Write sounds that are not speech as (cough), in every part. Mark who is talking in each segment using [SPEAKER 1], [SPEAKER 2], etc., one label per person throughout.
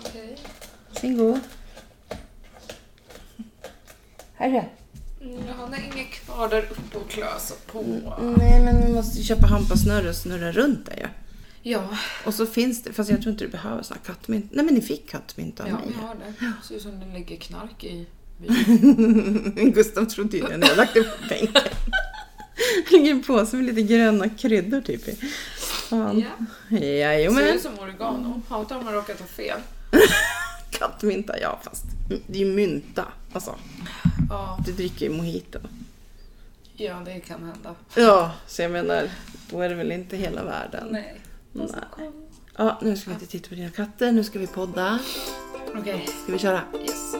[SPEAKER 1] Okej.
[SPEAKER 2] Sen god. Herre.
[SPEAKER 1] Mm, Han har inget kvar där uppe att klösa på.
[SPEAKER 2] Mm, Nej, men vi måste köpa hampasnöre och snurra runt det ju.
[SPEAKER 1] Ja,
[SPEAKER 2] Och så finns det, fast jag tror inte du behöver såna kattmynt. Nej, men ni fick kattmynt av
[SPEAKER 1] ja
[SPEAKER 2] mig.
[SPEAKER 1] vi har det. Ser ut som det ligger knark i bilen.
[SPEAKER 2] (laughs) Gustav tror tydligen att jag lagt det (laughs) på bänken. Det ligger en påse med lite gröna kryddor typ i. Fan.
[SPEAKER 1] Ja. Ser
[SPEAKER 2] Jajamän.
[SPEAKER 1] ut som oregano. Hatar om man råkar ta fel.
[SPEAKER 2] Kattmynta, ja fast det är ju mynta. Alltså,
[SPEAKER 1] Ja,
[SPEAKER 2] du dricker ju mojito.
[SPEAKER 1] ja det kan hända.
[SPEAKER 2] Ja, så jag menar, då är det väl inte hela världen.
[SPEAKER 1] Nej.
[SPEAKER 2] Nej. Ja, nu ska vi inte titta på dina katter, nu ska vi podda.
[SPEAKER 1] Okej.
[SPEAKER 2] Ska vi köra?
[SPEAKER 1] Yes.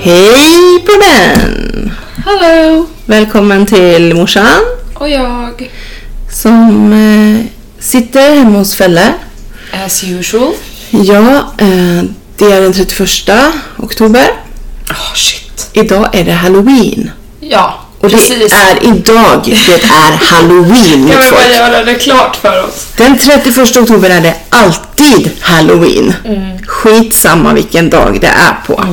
[SPEAKER 2] Hej på den!
[SPEAKER 1] Hello!
[SPEAKER 2] Välkommen till morsan
[SPEAKER 1] Och jag.
[SPEAKER 2] som eh, sitter hemma hos Felle.
[SPEAKER 1] As usual.
[SPEAKER 2] Ja, eh, det är den 31 oktober.
[SPEAKER 1] Oh shit.
[SPEAKER 2] Idag är det halloween.
[SPEAKER 1] Ja,
[SPEAKER 2] Ah, Och
[SPEAKER 1] precis.
[SPEAKER 2] det är idag det är halloween
[SPEAKER 1] Jag
[SPEAKER 2] mitt
[SPEAKER 1] vill bara
[SPEAKER 2] folk.
[SPEAKER 1] göra det klart för oss.
[SPEAKER 2] Den 31 oktober är det alltid halloween. Skitsamma vilken dag det är på.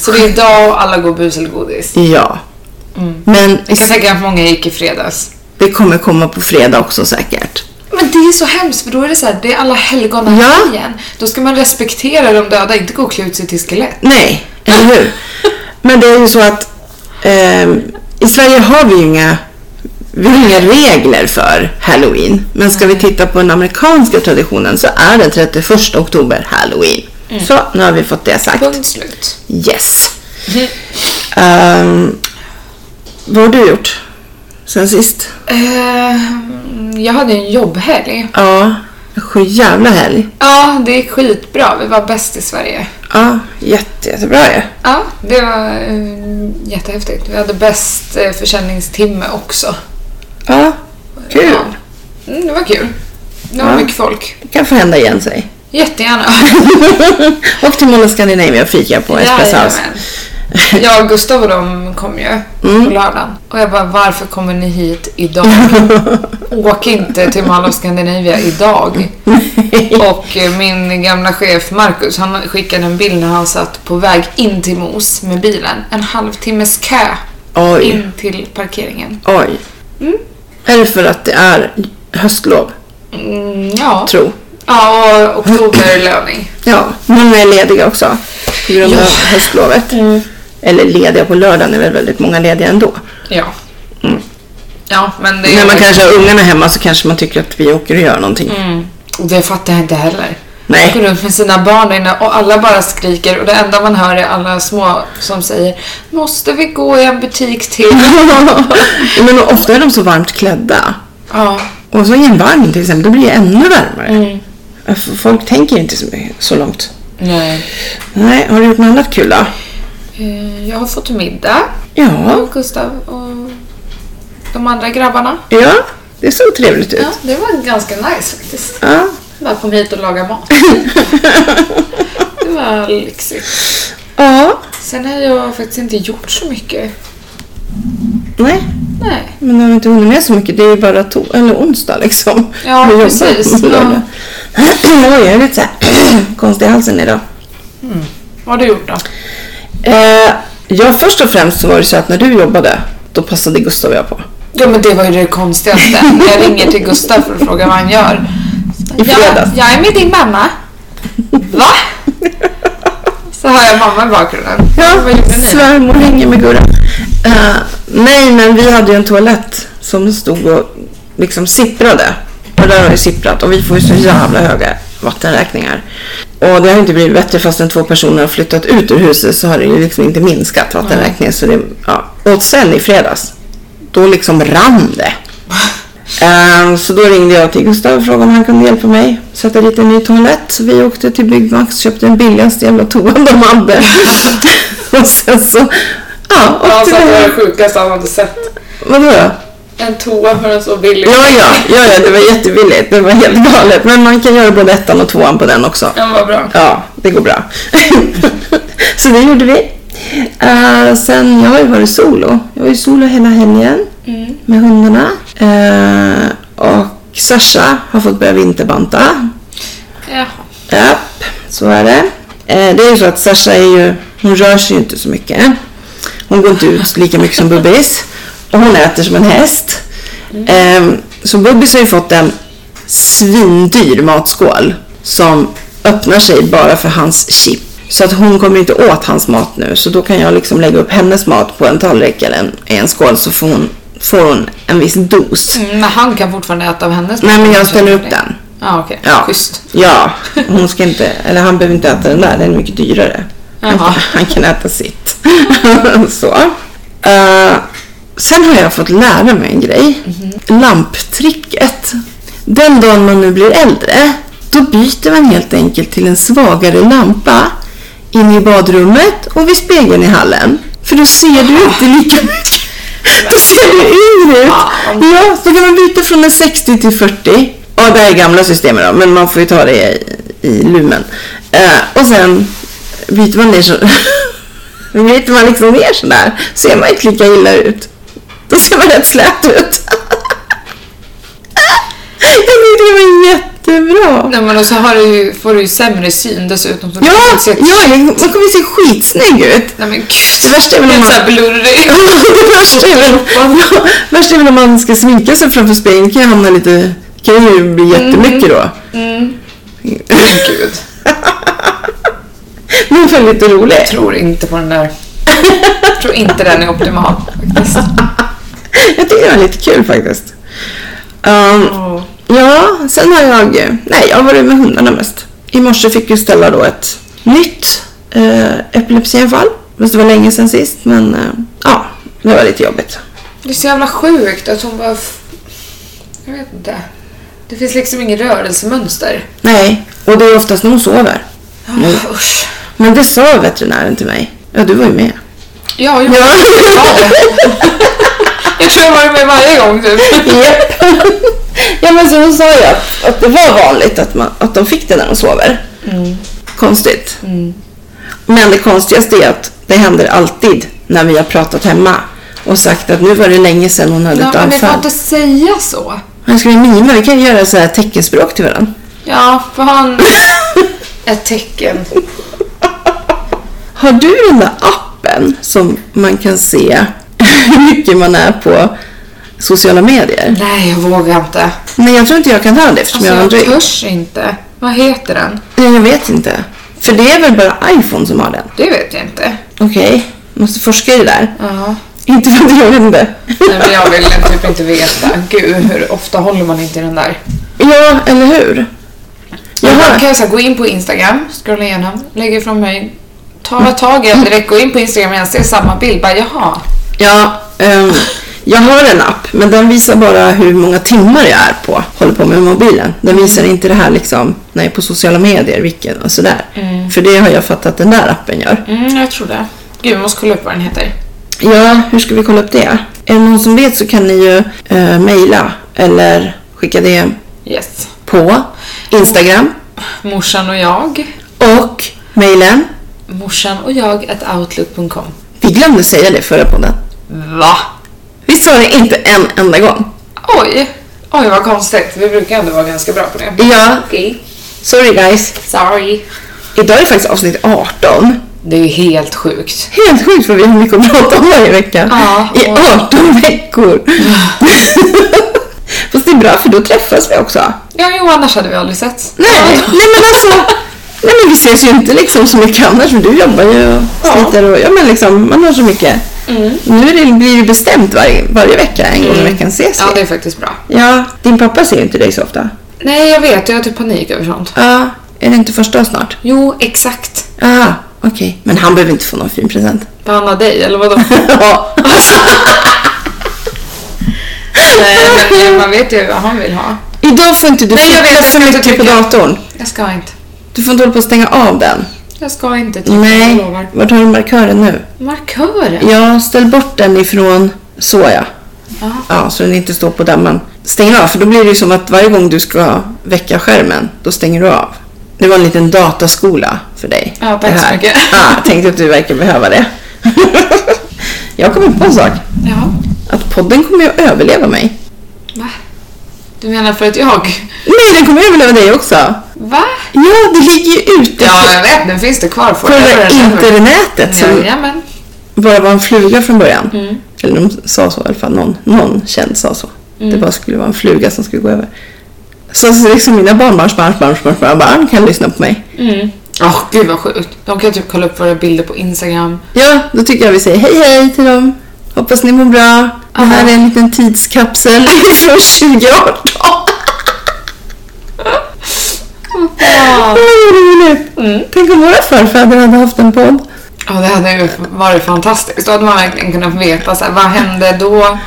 [SPEAKER 1] Så det är idag och alla går bus eller godis.
[SPEAKER 2] Ja. Men
[SPEAKER 1] Jag kan tänka att många gick i fredags.
[SPEAKER 2] det kommer komma på fredag också säkert.
[SPEAKER 1] Men det är så hemskt för då är det så här, det är alla helgon och
[SPEAKER 2] Ja.
[SPEAKER 1] helgen. Då ska man respektera de döda, inte gå och klä ut sig till skelett.
[SPEAKER 2] Nej,
[SPEAKER 1] (laughs)
[SPEAKER 2] eller hur? Men det är ju så att ehm, i Sverige har vi ju inga, vi har inga regler för halloween. Men ska vi titta på den amerikanska traditionen så är den 31 oktober halloween. Så nu har vi fått det sagt.
[SPEAKER 1] Mm. Punkt slut.
[SPEAKER 2] Yes. Ehm, vad har du gjort sen sist?
[SPEAKER 1] Ehm, jag hade en jobbhelg.
[SPEAKER 2] Ja, en jävla helg.
[SPEAKER 1] Ja, det gick skitbra. Vi var bäst i Sverige.
[SPEAKER 2] Ja, jätte, jättebra ju.
[SPEAKER 1] Ja, det var eh, jättehäftigt. Vi hade bäst eh, försäljningstimme också.
[SPEAKER 2] Ja, kul.
[SPEAKER 1] Ja. Mm, det var kul. Det var
[SPEAKER 2] Ja.
[SPEAKER 1] mycket folk.
[SPEAKER 2] Det kan få hända igen sig.
[SPEAKER 1] Jättegärna. (laughs)
[SPEAKER 2] (laughs) Och till Mall of Scandinavia och fika på Espresso House.
[SPEAKER 1] Jajamän. Jag och Gustav och de kom ju
[SPEAKER 2] Mm.
[SPEAKER 1] på lördagen. Och jag bara, varför kommer ni hit
[SPEAKER 2] (laughs)
[SPEAKER 1] idag? Åk inte till Mall of Scandinavia idag.
[SPEAKER 2] (laughs)
[SPEAKER 1] Och eh, min gamla chef Marcus, han skickade en bild när han satt på väg in till Mos med bilen. En halvtimmes kö
[SPEAKER 2] Oj,
[SPEAKER 1] in till parkeringen.
[SPEAKER 2] oj. Är det för att det är höstlov,
[SPEAKER 1] Mm, ja.
[SPEAKER 2] tro?
[SPEAKER 1] ja, och oktoberlöning.
[SPEAKER 2] Ja, många är lediga också på grund
[SPEAKER 1] Ja. Mm.
[SPEAKER 2] av höstlovet. Eller lediga på lördagen är väl väldigt många lediga ändå.
[SPEAKER 1] Ja. Ja, men det
[SPEAKER 2] När
[SPEAKER 1] är...
[SPEAKER 2] Mm. man kanske har ungarna hemma så kanske man tycker att vi åker och gör någonting.
[SPEAKER 1] Mm. Och det fattar jag inte heller.
[SPEAKER 2] Nej.
[SPEAKER 1] Man går runt med sina barn där inne och alla bara skriker och det enda man hör är alla små som säger Måste vi gå i en butik
[SPEAKER 2] (laughs)
[SPEAKER 1] till?
[SPEAKER 2] Ja, (laughs) Men ofta är de så varmt klädda.
[SPEAKER 1] ja.
[SPEAKER 2] Och så i en vagn till exempel, då blir det ännu varmare.
[SPEAKER 1] Mm.
[SPEAKER 2] F- Folk tänker inte så, mycket- så långt.
[SPEAKER 1] Nej.
[SPEAKER 2] Nej, har du gjort något annat kul då?
[SPEAKER 1] Eh, Jag har fått middag
[SPEAKER 2] Ja,
[SPEAKER 1] av Gustav och de andra grabbarna.
[SPEAKER 2] ja det såg trevligt ut.
[SPEAKER 1] Ja, det var ganska nice faktiskt.
[SPEAKER 2] Ja.
[SPEAKER 1] Bara kom hit och laga
[SPEAKER 2] (laughs)
[SPEAKER 1] mat. det var lyxigt.
[SPEAKER 2] ja.
[SPEAKER 1] Sen har jag faktiskt inte gjort så mycket.
[SPEAKER 2] Nej,
[SPEAKER 1] Nej.
[SPEAKER 2] men du har inte hunnit med så mycket. Det är ju bara to- eller onsdag liksom.
[SPEAKER 1] Ja,
[SPEAKER 2] Vi jobbar
[SPEAKER 1] precis.
[SPEAKER 2] på
[SPEAKER 1] Ja.
[SPEAKER 2] lördag. (clears throat) Oj, jag är lite så här (clears throat) konstig i halsen idag.
[SPEAKER 1] Vad har du gjort då?
[SPEAKER 2] Eh, ja, först och främst så var det så att när du jobbade, då passade Gustav och jag på.
[SPEAKER 1] Ja men det var ju det konstigaste. Jag ringer till Gustav för att fråga vad han gör.
[SPEAKER 2] I fredags.
[SPEAKER 1] Jag, jag är med din mamma. Va? Så har jag mamma i bakgrunden.
[SPEAKER 2] Ja,
[SPEAKER 1] vad gjorde ni?
[SPEAKER 2] svärmor hänger med Gurra. Eh, nej, men vi hade ju en toalett som stod och liksom sipprade. Och där har det sipprat och vi får ju så jävla höga vattenräkningar. Och det har inte blivit bättre fastän två personer har flyttat ut ur huset så har det ju liksom inte minskat vattenräkningen. Så det, ja. Och sen i fredags, då liksom rann det. Eh, Så då ringde jag till Gustav och frågade om han kunde hjälpa mig sätta dit en ny toalett. Så vi åkte till Byggmax köpte den billigaste jävla toan de (laughs) hade. och sen så... Ja,
[SPEAKER 1] Ja,
[SPEAKER 2] åkte
[SPEAKER 1] så att det var
[SPEAKER 2] vi
[SPEAKER 1] det sjukaste han hade sett.
[SPEAKER 2] Vadå då?
[SPEAKER 1] en toa för en så billig
[SPEAKER 2] Ja, ja, ja, ja, det var jättebilligt. Det var helt galet. Men man kan göra både ettan och tvåan på den också.
[SPEAKER 1] Den var bra.
[SPEAKER 2] Ja, det går bra. (laughs) så det gjorde vi. Eh, sen, jag har ju varit solo. Jag var ju solo hela helgen med hundarna. Eh, och Sasha har fått börja vinterbanta.
[SPEAKER 1] Jaha.
[SPEAKER 2] Japp, så är det. Eh, det är ju så att Sasha är ju, hon rör sig ju inte så mycket. Hon går inte ut lika mycket som Bubbis. Och hon äter som en häst. Eh, så Bubbis har ju fått en svindyr matskål som öppnar sig bara för hans chip. Så att hon kommer inte åt hans mat nu. Så då kan jag liksom lägga upp hennes mat på en tallrik eller en, i en skål så får hon, får hon en viss dos.
[SPEAKER 1] Mm, men han kan fortfarande äta av hennes
[SPEAKER 2] Nej
[SPEAKER 1] mat.
[SPEAKER 2] men jag ställer upp den.
[SPEAKER 1] Ja, okej.
[SPEAKER 2] Ja.
[SPEAKER 1] Schysst.
[SPEAKER 2] Ja, hon ska inte, eller han behöver inte äta den där, den är mycket dyrare. Han kan,
[SPEAKER 1] Jaha.
[SPEAKER 2] han kan äta sitt. (laughs) så. Eh, sen har jag fått lära mig en grej.
[SPEAKER 1] Mhm.
[SPEAKER 2] Lamptricket. Den dagen man nu blir äldre, då byter man helt enkelt till en svagare lampa in i badrummet och vid spegeln i hallen. För då ser du inte
[SPEAKER 1] (laughs)
[SPEAKER 2] lika (laughs) mycket. Då ser du yngre ut. Ja, så kan man byta från en 60 till 40. Ja, det här är gamla system då, men man får ju ta det i, i lumen. Eh, och sen byter man ner så... (laughs) byter man liksom ner sådär, ser man inte lika illa ut. Då ser man rätt slät ut. (laughs) Jag tyckte det var jättebra.
[SPEAKER 1] Nej men och så har du, ju- får du ju sämre syn dessutom. Så du
[SPEAKER 2] Ja,
[SPEAKER 1] kan inte se-
[SPEAKER 2] ja, man kommer se skitsnygg ut. (laughs)
[SPEAKER 1] Nej men gud.
[SPEAKER 2] Det värsta är väl om
[SPEAKER 1] Helt
[SPEAKER 2] man-
[SPEAKER 1] såhär blurrig.
[SPEAKER 2] det värsta är väl, (laughs) värsta är väl om man ska sminka sig framför spegeln kan jag hamna lite, kan ju bli jättemycket då.
[SPEAKER 1] Men gud.
[SPEAKER 2] Men för lite
[SPEAKER 1] Jag
[SPEAKER 2] roligt.
[SPEAKER 1] tror inte på den där. Jag tror inte den är optimal faktiskt.
[SPEAKER 2] Jag tycker det var lite kul faktiskt. Ehm,
[SPEAKER 1] Ja.
[SPEAKER 2] ja, sen har jag, nej jag har varit med hundarna mest. I morse fick vi ställa då ett nytt eh, epilepsianfall. Fast det var länge sedan sist men eh, ja, det var lite jobbigt.
[SPEAKER 1] Det är så jävla sjukt att hon bara... f- Jag vet inte. Det finns liksom inget rörelsemönster.
[SPEAKER 2] Nej, och det är oftast när hon sover. Nej.
[SPEAKER 1] Ah, Usch.
[SPEAKER 2] Men det sa veterinären till mig. Ja, du var ju med.
[SPEAKER 1] Ja, jag, (laughs) jag tror jag har varit med varje gång typ.
[SPEAKER 2] Japp. (laughs) ja men så hon sa ju att, att det var vanligt att, man, att de fick det när de sover.
[SPEAKER 1] Mm.
[SPEAKER 2] Konstigt. Men det konstigaste är att det händer alltid när vi har pratat hemma och sagt att nu var det länge sedan hon hade
[SPEAKER 1] Ja,
[SPEAKER 2] ett
[SPEAKER 1] men vi får
[SPEAKER 2] anfall.
[SPEAKER 1] inte säga så.
[SPEAKER 2] Men ska vi mima? Vi kan ju göra så här teckenspråk till varandra.
[SPEAKER 1] Ja, för han... (laughs) Ett tecken.
[SPEAKER 2] Har du den där appen som man kan se (laughs) hur mycket man är på sociala medier?
[SPEAKER 1] Nej, jag vågar inte.
[SPEAKER 2] Nej, jag tror inte jag kan ha det eftersom
[SPEAKER 1] Alltså,
[SPEAKER 2] jag har en
[SPEAKER 1] jag
[SPEAKER 2] dryg.
[SPEAKER 1] törs inte. Vad heter den?
[SPEAKER 2] Nej, Jag vet inte. För det är väl bara iPhone som har den?
[SPEAKER 1] Det vet jag inte.
[SPEAKER 2] Okej, måste forska i det där.
[SPEAKER 1] Ja.
[SPEAKER 2] Inte för att jag vet inte.
[SPEAKER 1] Nej, men jag vill typ inte veta. Gud, hur ofta håller man inte i den där?
[SPEAKER 2] (laughs) Ja, eller hur?
[SPEAKER 1] Jag
[SPEAKER 2] Jaha.
[SPEAKER 1] kan jag så här, gå in på Instagram, scrolla igenom, lägga ifrån mig, ta tag i den direkt, gå in på Instagram och jag ser samma bild. Bara jaha.
[SPEAKER 2] Ja, ehm, jag har en app, men den visar bara hur många timmar jag är på, håller på med mobilen. Den
[SPEAKER 1] Mm.
[SPEAKER 2] visar inte det här liksom, när jag är på sociala medier, vilken och sådär. För det har jag fattat att den där appen gör.
[SPEAKER 1] Mm, jag tror det. Gud, vi måste kolla upp vad den heter.
[SPEAKER 2] Ja, hur ska vi kolla upp det? Är det någon som vet så kan ni ju eh, mejla eller skicka det
[SPEAKER 1] Yes.
[SPEAKER 2] på Instagram
[SPEAKER 1] Morsan och jag.
[SPEAKER 2] och mejlen.
[SPEAKER 1] Morsan och jag at outlook.com.
[SPEAKER 2] Vi glömde säga det i förra podden.
[SPEAKER 1] Va?
[SPEAKER 2] Vi sa det inte en enda gång.
[SPEAKER 1] Oj! Oj vad konstigt. Vi brukar ändå vara ganska bra på det.
[SPEAKER 2] Ja,
[SPEAKER 1] Okej.
[SPEAKER 2] sorry guys.
[SPEAKER 1] Sorry.
[SPEAKER 2] Idag är faktiskt avsnitt 18.
[SPEAKER 1] Det är ju helt sjukt.
[SPEAKER 2] Helt sjukt för vi har mycket att prata om varje vecka.
[SPEAKER 1] Ja,
[SPEAKER 2] I
[SPEAKER 1] och-
[SPEAKER 2] 18 veckor. (laughs) Fast det är bra för då träffas vi också.
[SPEAKER 1] Ja, jo annars hade vi aldrig sett.
[SPEAKER 2] Nej, nej men alltså. Nej men vi ses ju inte liksom så mycket annars för du jobbar ju och
[SPEAKER 1] Ja.
[SPEAKER 2] sliter och ja Mm. men liksom man har så mycket. Nu är det, blir det bestämt varje, varje vecka, en gång i veckan ses vi.
[SPEAKER 1] Ja, det är faktiskt bra.
[SPEAKER 2] Ja, din pappa ser ju inte dig så ofta.
[SPEAKER 1] Nej, jag vet. Jag har typ panik över sånt.
[SPEAKER 2] Ja, är det inte första snart?
[SPEAKER 1] Jo, exakt.
[SPEAKER 2] Ah, okej. Men han behöver inte få någon fin present.
[SPEAKER 1] Behandla dig, eller (laughs) vadå?
[SPEAKER 2] Ja.
[SPEAKER 1] (laughs) Nej, men man vet ju vad han vill ha.
[SPEAKER 2] Idag får inte du
[SPEAKER 1] Nej, jag vet,
[SPEAKER 2] titta
[SPEAKER 1] jag
[SPEAKER 2] för
[SPEAKER 1] ska inte
[SPEAKER 2] mycket på
[SPEAKER 1] trycka.
[SPEAKER 2] datorn.
[SPEAKER 1] Jag ska inte.
[SPEAKER 2] Du får inte hålla på att stänga av den.
[SPEAKER 1] Jag ska inte typ, jag
[SPEAKER 2] Nej.
[SPEAKER 1] lovar.
[SPEAKER 2] Vart har du markören nu?
[SPEAKER 1] Markören?
[SPEAKER 2] Ja, ställ bort den ifrån... Så ja. Ja, så den inte står på där man stänger av. För då blir det ju som att varje gång du ska väcka skärmen, då stänger du av. Det var en liten dataskola för dig.
[SPEAKER 1] Ja, tack
[SPEAKER 2] det
[SPEAKER 1] så
[SPEAKER 2] här.
[SPEAKER 1] mycket.
[SPEAKER 2] (laughs) Ja, tänkte att du verkar behöva det. (laughs) jag kom på en sak.
[SPEAKER 1] Jaha.
[SPEAKER 2] Att podden kommer ju att överleva mig.
[SPEAKER 1] Va? Du menar för att jag...
[SPEAKER 2] Nej, den kommer att överleva dig också.
[SPEAKER 1] Va?
[SPEAKER 2] Ja, det ligger ju
[SPEAKER 1] (laughs)
[SPEAKER 2] ute
[SPEAKER 1] Ja, jag vet. Den finns det kvar
[SPEAKER 2] på det
[SPEAKER 1] forever
[SPEAKER 2] där
[SPEAKER 1] and ever.
[SPEAKER 2] internetet som
[SPEAKER 1] Jajamän.
[SPEAKER 2] bara var en fluga från början.
[SPEAKER 1] Mm.
[SPEAKER 2] Eller de sa så i alla fall. Någon, någon känd sa så.
[SPEAKER 1] Mm.
[SPEAKER 2] Det bara skulle vara en fluga som skulle gå över. Så, så liksom mina barnbarns barnbarns barnbarns barn kan lyssna på mig.
[SPEAKER 1] Mm. Åh, gud vad sjukt. De kan typ kolla upp våra bilder på Instagram.
[SPEAKER 2] Ja, då tycker jag vi säger hej hej till dem. Hoppas ni mår bra. Det här
[SPEAKER 1] Aha.
[SPEAKER 2] är en liten tidskapsel (laughs) från 2018.
[SPEAKER 1] Ja,
[SPEAKER 2] Åh, vad roligt. Tänk om våra förfäder hade haft en podd.
[SPEAKER 1] Ja, det hade ju varit fantastiskt. Då hade man verkligen kunnat veta så här, vad hände då?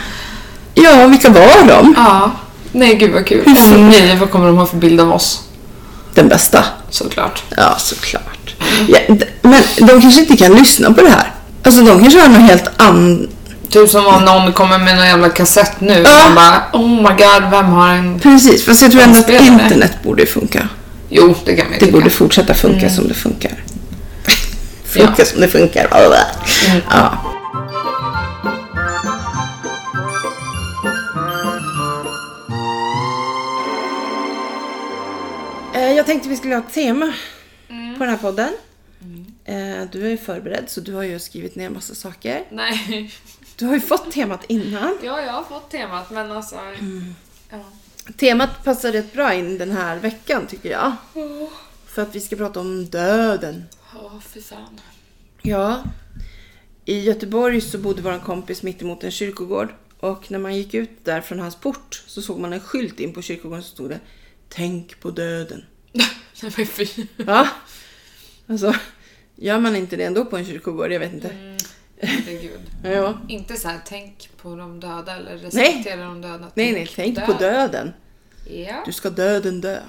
[SPEAKER 2] Ja, vilka var de?
[SPEAKER 1] Ja. Nej, gud vad kul.
[SPEAKER 2] Hur-
[SPEAKER 1] Och ni, vad kommer de ha för bild av oss?
[SPEAKER 2] Den bästa.
[SPEAKER 1] Såklart.
[SPEAKER 2] Ja, såklart. Ja, d- men de kanske inte kan lyssna på det här. Alltså de kanske har något helt annat.
[SPEAKER 1] Typ som om någon kommer med någon jävla kassett nu
[SPEAKER 2] Ja.
[SPEAKER 1] och man bara oh my god, vem har en...
[SPEAKER 2] Precis, fast jag tror ändå att
[SPEAKER 1] Inspelare.
[SPEAKER 2] internet borde ju funka.
[SPEAKER 1] Jo, det kan man ju
[SPEAKER 2] Det
[SPEAKER 1] tycka.
[SPEAKER 2] borde fortsätta funka som
[SPEAKER 1] (laughs)
[SPEAKER 2] det funkar. funka
[SPEAKER 1] Ja.
[SPEAKER 2] som det funkar. Ja. Eh, Jag tänkte vi skulle ha ett tema
[SPEAKER 1] Mm.
[SPEAKER 2] på den här podden. Eh, Du är ju förberedd så du har ju skrivit ner massa saker.
[SPEAKER 1] Nej, (laughs)
[SPEAKER 2] Du har ju fått temat innan.
[SPEAKER 1] ja, jag har fått temat men alltså...
[SPEAKER 2] Mm.
[SPEAKER 1] Ja.
[SPEAKER 2] Temat passar rätt bra in den här veckan tycker jag.
[SPEAKER 1] Åh,
[SPEAKER 2] För att vi ska prata om döden.
[SPEAKER 1] oh, fy fan. (laughs)
[SPEAKER 2] Ja. I Göteborg så bodde vår kompis mittemot en kyrkogård. Och när man gick ut där från hans port så såg man en skylt in på kyrkogården som stod det Tänk på döden.
[SPEAKER 1] Nej men fy.
[SPEAKER 2] Va? Alltså, gör man inte det ändå på en kyrkogård? Jag vet inte.
[SPEAKER 1] Herregud.
[SPEAKER 2] Ja.
[SPEAKER 1] Inte så här, tänk på de döda eller respektera de döda. Typ
[SPEAKER 2] Nej, nej, tänk på döden.
[SPEAKER 1] Ja,
[SPEAKER 2] Du ska döden dö.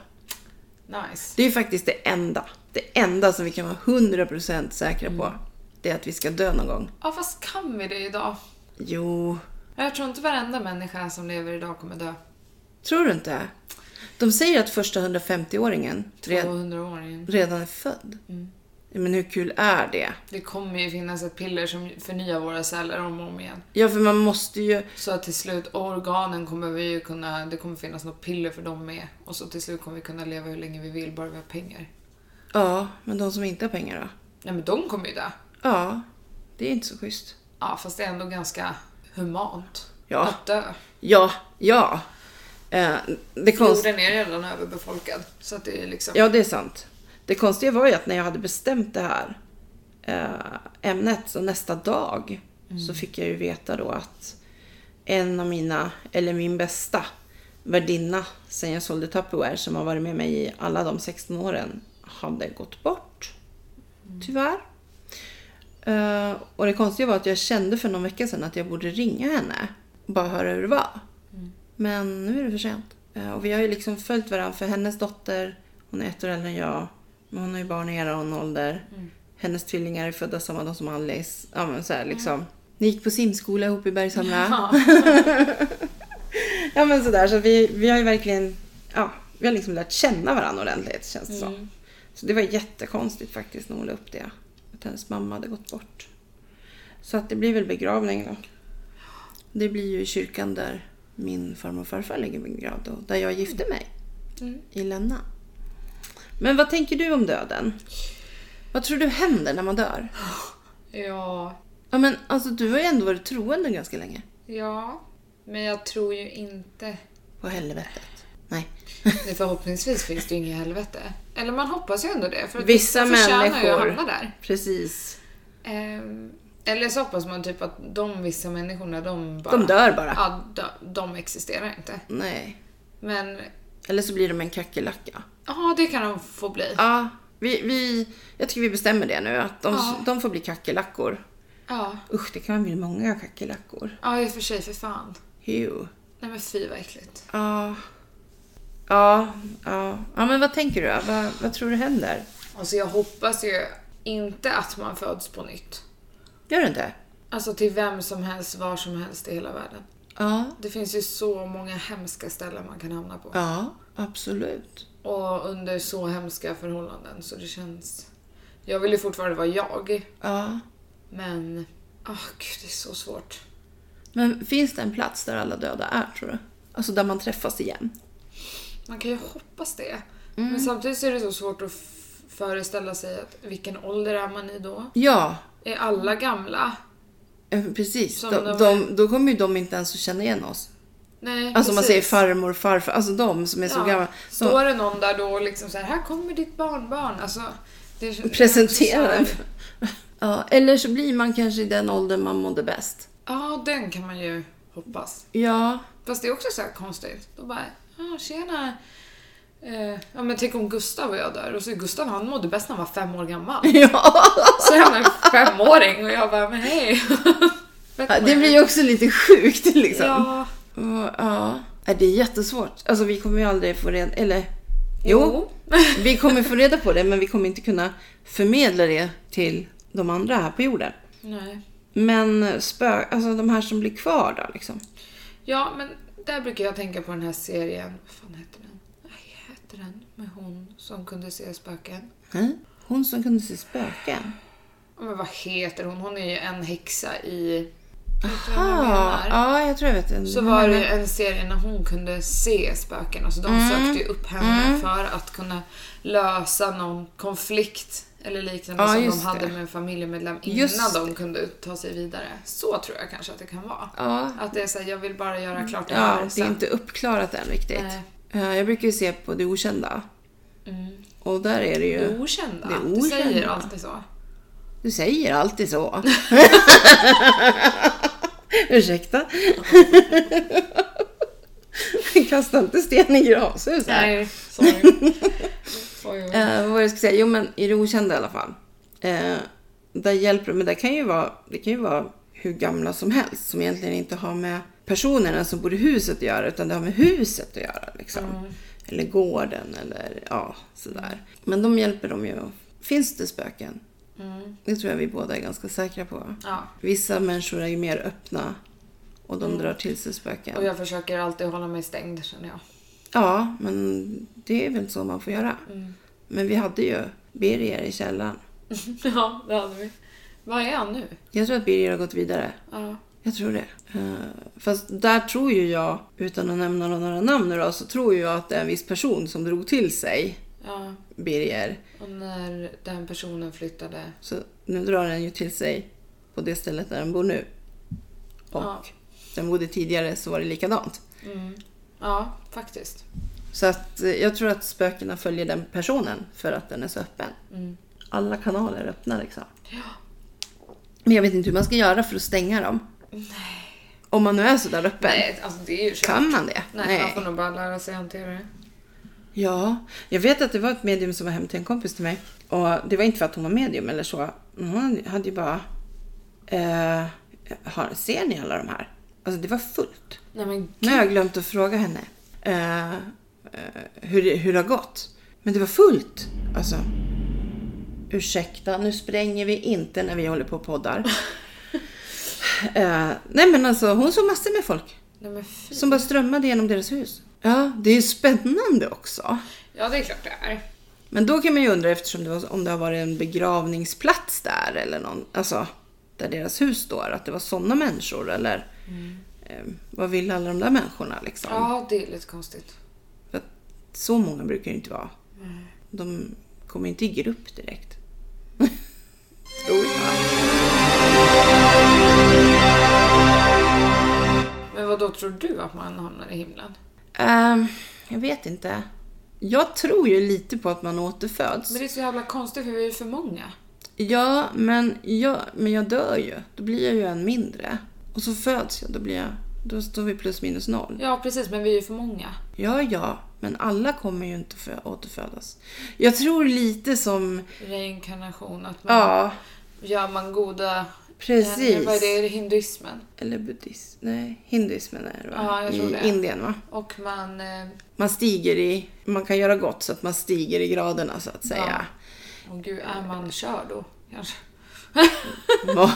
[SPEAKER 1] nice.
[SPEAKER 2] Det är ju faktiskt det enda. Det enda som vi kan vara 100% säkra på. Det är att vi ska dö någon gång.
[SPEAKER 1] Ja, fast kan vi det idag?
[SPEAKER 2] Jo,
[SPEAKER 1] Jag tror inte varenda människa som lever idag kommer dö.
[SPEAKER 2] tror du inte? De säger att första 150-åringen redan
[SPEAKER 1] 200-åringen.
[SPEAKER 2] redan är född. Men hur kul är det?
[SPEAKER 1] Det kommer ju finnas ett piller som förnyar våra celler om och om igen.
[SPEAKER 2] Ja, för man måste ju...
[SPEAKER 1] Så att till slut, organen kommer vi ju kunna, det kommer finnas något piller för dem med. Och så till slut kommer vi kunna leva hur länge vi vill, bara vi har pengar.
[SPEAKER 2] Ja, men de som inte har pengar då?
[SPEAKER 1] Nej men de kommer ju dö.
[SPEAKER 2] Ja, det är inte så schysst.
[SPEAKER 1] Ja fast det är ändå ganska humant
[SPEAKER 2] Ja.
[SPEAKER 1] att dö.
[SPEAKER 2] Ja, ja. Eh, det konst...
[SPEAKER 1] Jorden är redan överbefolkad. Så att det är liksom...
[SPEAKER 2] Ja, det är sant. Det konstiga var ju att när jag hade bestämt det här eh, ämnet, så nästa dag, så fick jag ju veta då att en av mina, eller min bästa värdinna sen jag sålde Tupperware, som har varit med mig i alla de 16 åren, hade gått bort. Tyvärr. Eh, och det konstiga var att jag kände för någon vecka sedan att jag borde ringa henne och bara höra hur det var. Men nu är det för sent. Eh, och vi har ju liksom följt varandra för hennes dotter, hon är ett år äldre än jag, men hon har ju barn i er ålder. Hennes tvillingar är födda samma dag som Alice. Ja, men så här, liksom. Ni gick på simskola ihop i Bergshamra.
[SPEAKER 1] Ja.
[SPEAKER 2] Ja men sådär, så vi, vi har ju verkligen, ja, vi har liksom lärt känna varandra ordentligt känns det
[SPEAKER 1] Mm.
[SPEAKER 2] som. Så det var jättekonstigt faktiskt när hon la upp det. Att hennes mamma hade gått bort. Så att det blir väl begravning då. Det blir ju i kyrkan där min farmor och farfar ligger begravd och där jag gifte mig.
[SPEAKER 1] Mm.
[SPEAKER 2] I Länna. Men vad tänker du om döden? Vad tror du händer när man dör?
[SPEAKER 1] (laughs) ja.
[SPEAKER 2] Ja men alltså du har ju ändå varit troende ganska länge.
[SPEAKER 1] Ja. Men jag tror ju inte...
[SPEAKER 2] På helvetet. Nej.
[SPEAKER 1] Nej, Förhoppningsvis finns det ju inget helvete. Eller man hoppas ju ändå det. För att
[SPEAKER 2] Vissa
[SPEAKER 1] vissa förtjänar ju att
[SPEAKER 2] människor-
[SPEAKER 1] hamna där.
[SPEAKER 2] Precis.
[SPEAKER 1] Ehm, eller så hoppas man typ att de vissa människorna, de bara...
[SPEAKER 2] De dör bara.
[SPEAKER 1] Ja, de, de existerar inte.
[SPEAKER 2] Nej.
[SPEAKER 1] Men
[SPEAKER 2] Eller så blir de en kackerlacka.
[SPEAKER 1] ja, det kan de få bli.
[SPEAKER 2] Ja, vi, vi, jag tycker vi bestämmer det nu. Att de,
[SPEAKER 1] Ja.
[SPEAKER 2] de får bli kackerlackor.
[SPEAKER 1] Ja,
[SPEAKER 2] Usch, det kan bli många kackerlackor.
[SPEAKER 1] ja i och för sig, för fan.
[SPEAKER 2] Ew.
[SPEAKER 1] Nej men fy vad äckligt.
[SPEAKER 2] Ja. Ja, ja. Ja, men vad tänker du? då? Vad, vad tror du händer?
[SPEAKER 1] Alltså jag hoppas ju inte att man föds på nytt.
[SPEAKER 2] Gör det inte?
[SPEAKER 1] Alltså till vem som helst, var som helst i hela världen.
[SPEAKER 2] Ja.
[SPEAKER 1] Det finns ju så många hemska ställen man kan hamna på.
[SPEAKER 2] Ja, absolut.
[SPEAKER 1] Och under så hemska förhållanden så det känns... Jag vill ju fortfarande vara jag.
[SPEAKER 2] Ja.
[SPEAKER 1] Men... Ah, gud, det är så svårt.
[SPEAKER 2] Men finns det en plats där alla döda är, tror du? Alltså där man träffas igen?
[SPEAKER 1] Man kan ju hoppas det.
[SPEAKER 2] Mm.
[SPEAKER 1] Men samtidigt så är det så svårt att f- föreställa sig att vilken ålder är man i då?
[SPEAKER 2] Ja,
[SPEAKER 1] Är alla gamla?
[SPEAKER 2] eh, precis.
[SPEAKER 1] Som
[SPEAKER 2] De,
[SPEAKER 1] de-
[SPEAKER 2] de, då kommer ju de inte ens att känna igen oss.
[SPEAKER 1] Nej,
[SPEAKER 2] Alltså man säger
[SPEAKER 1] precis.
[SPEAKER 2] farmor, farfar, alltså de som är så
[SPEAKER 1] Ja.
[SPEAKER 2] gamla. De
[SPEAKER 1] Står det någon där då och liksom så här, här kommer ditt barnbarn. Alltså, det är-
[SPEAKER 2] presenterar
[SPEAKER 1] det är
[SPEAKER 2] en.
[SPEAKER 1] också så här-
[SPEAKER 2] (laughs) ja, eller så blir man kanske i den åldern man mådde bäst.
[SPEAKER 1] Ja, den kan man ju hoppas.
[SPEAKER 2] Ja,
[SPEAKER 1] Fast det är också så här konstigt. Då bara, ah, tjena. Eh, ja men tänk om Gustav och jag dör och så är Gustav han mådde bäst när han var fem år gammal.
[SPEAKER 2] (laughs) ja.
[SPEAKER 1] Så är han en femåring och jag bara, men hej. Vet
[SPEAKER 2] (laughs) Ja,
[SPEAKER 1] man
[SPEAKER 2] Det
[SPEAKER 1] ju.
[SPEAKER 2] blir ju också lite sjukt liksom. Ja.
[SPEAKER 1] Ja.
[SPEAKER 2] ja. Ja, Det är jättesvårt. Alltså vi kommer ju aldrig få reda... Eller? jo. Vi kommer få reda på det men vi kommer inte kunna förmedla det till de andra här på jorden.
[SPEAKER 1] Nej.
[SPEAKER 2] Men spö, alltså de här som blir kvar då liksom.
[SPEAKER 1] Ja, men där brukar jag tänka på den här serien. Vad fan heter den? Nej, heter den? Med hon som kunde se spöken.
[SPEAKER 2] Hä? Hon som kunde se spöken.
[SPEAKER 1] Ja, Men vad heter hon? Hon är ju en häxa i... Vet du vad jag
[SPEAKER 2] Ja,
[SPEAKER 1] menar?
[SPEAKER 2] ja, jag tror jag vet. vem
[SPEAKER 1] Så
[SPEAKER 2] du
[SPEAKER 1] var det ju
[SPEAKER 2] menar.
[SPEAKER 1] en serie när hon kunde se spöken. Alltså de
[SPEAKER 2] Mm.
[SPEAKER 1] sökte ju upp henne för att kunna lösa någon konflikt eller liknande
[SPEAKER 2] Ja,
[SPEAKER 1] som de
[SPEAKER 2] just
[SPEAKER 1] hade
[SPEAKER 2] det.
[SPEAKER 1] med en familjemedlem innan
[SPEAKER 2] Just
[SPEAKER 1] de kunde ta sig vidare. Så tror jag kanske att det kan vara.
[SPEAKER 2] Ja,
[SPEAKER 1] Att det är såhär, jag vill bara göra klart det här
[SPEAKER 2] Mm. ja, det är
[SPEAKER 1] sen.
[SPEAKER 2] inte uppklarat än riktigt.
[SPEAKER 1] Nej.
[SPEAKER 2] Eh, Jag brukar ju se på Det Okända.
[SPEAKER 1] Mm.
[SPEAKER 2] Och där är det ju...
[SPEAKER 1] Okända.
[SPEAKER 2] Det är
[SPEAKER 1] Du säger
[SPEAKER 2] okända.
[SPEAKER 1] alltid så.
[SPEAKER 2] Du säger alltid så. Ursäkta. (laughs) Kasta inte sten i glashus här.
[SPEAKER 1] Nej,
[SPEAKER 2] (laughs)
[SPEAKER 1] sorry. Oj, oj.
[SPEAKER 2] Eh, vad var det jag skulle säga? Jo men i det okända i alla fall. Eh, där hjälper men det kan ju vara, det kan ju vara hur gamla som helst som egentligen inte har med personerna som bor i huset att göra utan det har med huset att göra liksom.
[SPEAKER 1] Mm.
[SPEAKER 2] Eller gården eller ja sådär. Men de hjälper dem ju. Finns det spöken?
[SPEAKER 1] Mm.
[SPEAKER 2] Det tror jag vi båda är ganska säkra på.
[SPEAKER 1] Ja.
[SPEAKER 2] Vissa människor är ju mer öppna och de drar till sig
[SPEAKER 1] Mm. Och
[SPEAKER 2] spöken.
[SPEAKER 1] jag försöker alltid hålla mig stängd känner jag.
[SPEAKER 2] Ja, men det är väl så man får göra.
[SPEAKER 1] Mm.
[SPEAKER 2] Men vi hade ju Birger i källaren.
[SPEAKER 1] ja, det hade vi. Var är han nu?
[SPEAKER 2] Jag tror att Birger har gått vidare.
[SPEAKER 1] Ja.
[SPEAKER 2] Jag tror det. Eh, Fast där tror ju jag, utan att nämna några namn nu då, så tror ju jag att det är en viss person som drog till sig
[SPEAKER 1] ja.
[SPEAKER 2] Birger.
[SPEAKER 1] Och när den personen flyttade...
[SPEAKER 2] Så nu drar den ju till sig på det stället där den bor nu. Och
[SPEAKER 1] Ja.
[SPEAKER 2] den bodde tidigare så var det likadant.
[SPEAKER 1] Mm. Ja, faktiskt.
[SPEAKER 2] Så att eh, jag tror att spökena följer den personen för att den är så öppen.
[SPEAKER 1] Mm.
[SPEAKER 2] Alla kanaler är öppna liksom.
[SPEAKER 1] Ja.
[SPEAKER 2] Men jag vet inte hur man ska göra för att stänga dem. Om man nu är så där öppen.
[SPEAKER 1] Nej, alltså det är ju kört.
[SPEAKER 2] Kan man det?
[SPEAKER 1] Nej, man får nog bara lära sig hantera det.
[SPEAKER 2] Ja, jag vet att det var ett medium som var hem till en kompis till mig. Och det var inte för att hon var medium eller så. Men Hon hade ju bara... Eh, har, ser ni alla de här? Alltså det var fullt.
[SPEAKER 1] Nej men
[SPEAKER 2] Nu har jag glömt att fråga henne eh, eh, hur, det- hur det har gått. Men det var fullt. Alltså. Ursäkta, nu spränger vi inte när vi håller på och poddar. eh, nej men alltså hon såg massor med folk
[SPEAKER 1] Nej men fy.
[SPEAKER 2] som bara strömmade genom deras hus. Ja, det är ju spännande också.
[SPEAKER 1] Ja, det är klart det är.
[SPEAKER 2] Men då kan man ju undra eftersom det var, om det har varit en begravningsplats där eller någon, alltså där deras hus står, att det var sådana människor eller eh, vad vill alla de där människorna liksom?
[SPEAKER 1] Mm. Ja, det är lite konstigt.
[SPEAKER 2] För att så många brukar det inte vara. De kommer inte i
[SPEAKER 1] (laughs)
[SPEAKER 2] grupp direkt. Tror jag.
[SPEAKER 1] Men vad då tror du att man hamnar i himlen?
[SPEAKER 2] Ehm, jag vet inte. Jag tror ju lite på att man återföds.
[SPEAKER 1] Men det är så jävla konstigt för vi är ju för många.
[SPEAKER 2] Ja, men jag, men jag dör ju. Då blir jag ju en mindre. Och så föds jag, då blir jag... Då står vi plus minus noll.
[SPEAKER 1] Ja, precis, men vi är ju för många.
[SPEAKER 2] Ja, ja, men alla kommer ju inte för återfödas. Jag tror lite som...
[SPEAKER 1] Reinkarnation, att man
[SPEAKER 2] Ja,
[SPEAKER 1] gör man goda...
[SPEAKER 2] Precis.
[SPEAKER 1] Vad är det? Är det hinduismen?
[SPEAKER 2] eller buddhism. Nej, hinduismen är det va?
[SPEAKER 1] Ja, jag tror
[SPEAKER 2] I
[SPEAKER 1] det.
[SPEAKER 2] Indien va?
[SPEAKER 1] Och man... eh,
[SPEAKER 2] Man stiger i... Man kan göra gott så att man stiger i graderna så att säga.
[SPEAKER 1] Åh gud, är man kör då? Kanske.
[SPEAKER 2] Ja.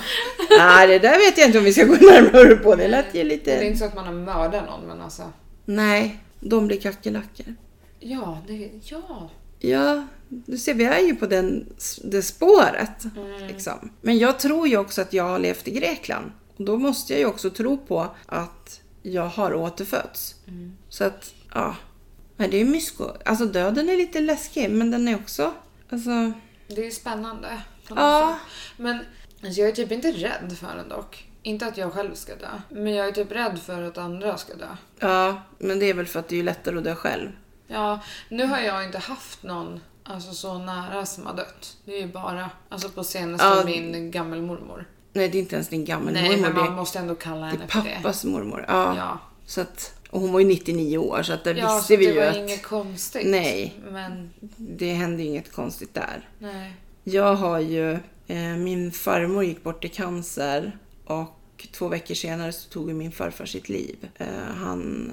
[SPEAKER 2] Nej, det där vet jag inte om vi ska gå närmare på. Det lät ju
[SPEAKER 1] Det är
[SPEAKER 2] lite...
[SPEAKER 1] inte så att man har mördat någon men alltså.
[SPEAKER 2] Nej, de blir kackerlackor.
[SPEAKER 1] Ja, det, ja.
[SPEAKER 2] Ja, du ser, vi är ju på den, det spåret.
[SPEAKER 1] Mm.
[SPEAKER 2] Liksom. Men jag tror ju också att jag har levt i Grekland. Och då måste jag ju också tro på att jag har återfötts.
[SPEAKER 1] Mm.
[SPEAKER 2] Så att, ja. Men det är ju mysko. Alltså döden är lite läskig, men den är också... Alltså,
[SPEAKER 1] Det är spännande. på något
[SPEAKER 2] Ja.
[SPEAKER 1] sätt. Men alltså, jag är typ inte rädd för den dock. Inte att jag själv ska dö. Men jag är typ rädd för att andra ska dö.
[SPEAKER 2] ja. Men det är väl för att det är ju lättare att dö själv.
[SPEAKER 1] Ja, nu har jag inte haft någon alltså, så nära som har dött. Det är ju bara alltså, på senaste
[SPEAKER 2] Ja.
[SPEAKER 1] min gammelmormor.
[SPEAKER 2] Nej, det är inte ens din gammelmormor.
[SPEAKER 1] Nej, men
[SPEAKER 2] det är-
[SPEAKER 1] man måste ändå kalla
[SPEAKER 2] Det är
[SPEAKER 1] henne för det.
[SPEAKER 2] pappas mormor. Ja.
[SPEAKER 1] Ja.
[SPEAKER 2] Så att, och hon var ju 99 år så att där
[SPEAKER 1] Ja, så
[SPEAKER 2] visste vi
[SPEAKER 1] det
[SPEAKER 2] ju
[SPEAKER 1] var
[SPEAKER 2] att
[SPEAKER 1] inget konstigt.
[SPEAKER 2] Nej.
[SPEAKER 1] Men,
[SPEAKER 2] det hände ju inget konstigt där.
[SPEAKER 1] nej.
[SPEAKER 2] Jag har ju, eh, min farmor gick bort i cancer och två veckor senare så tog ju min farfar sitt liv. Eh, han,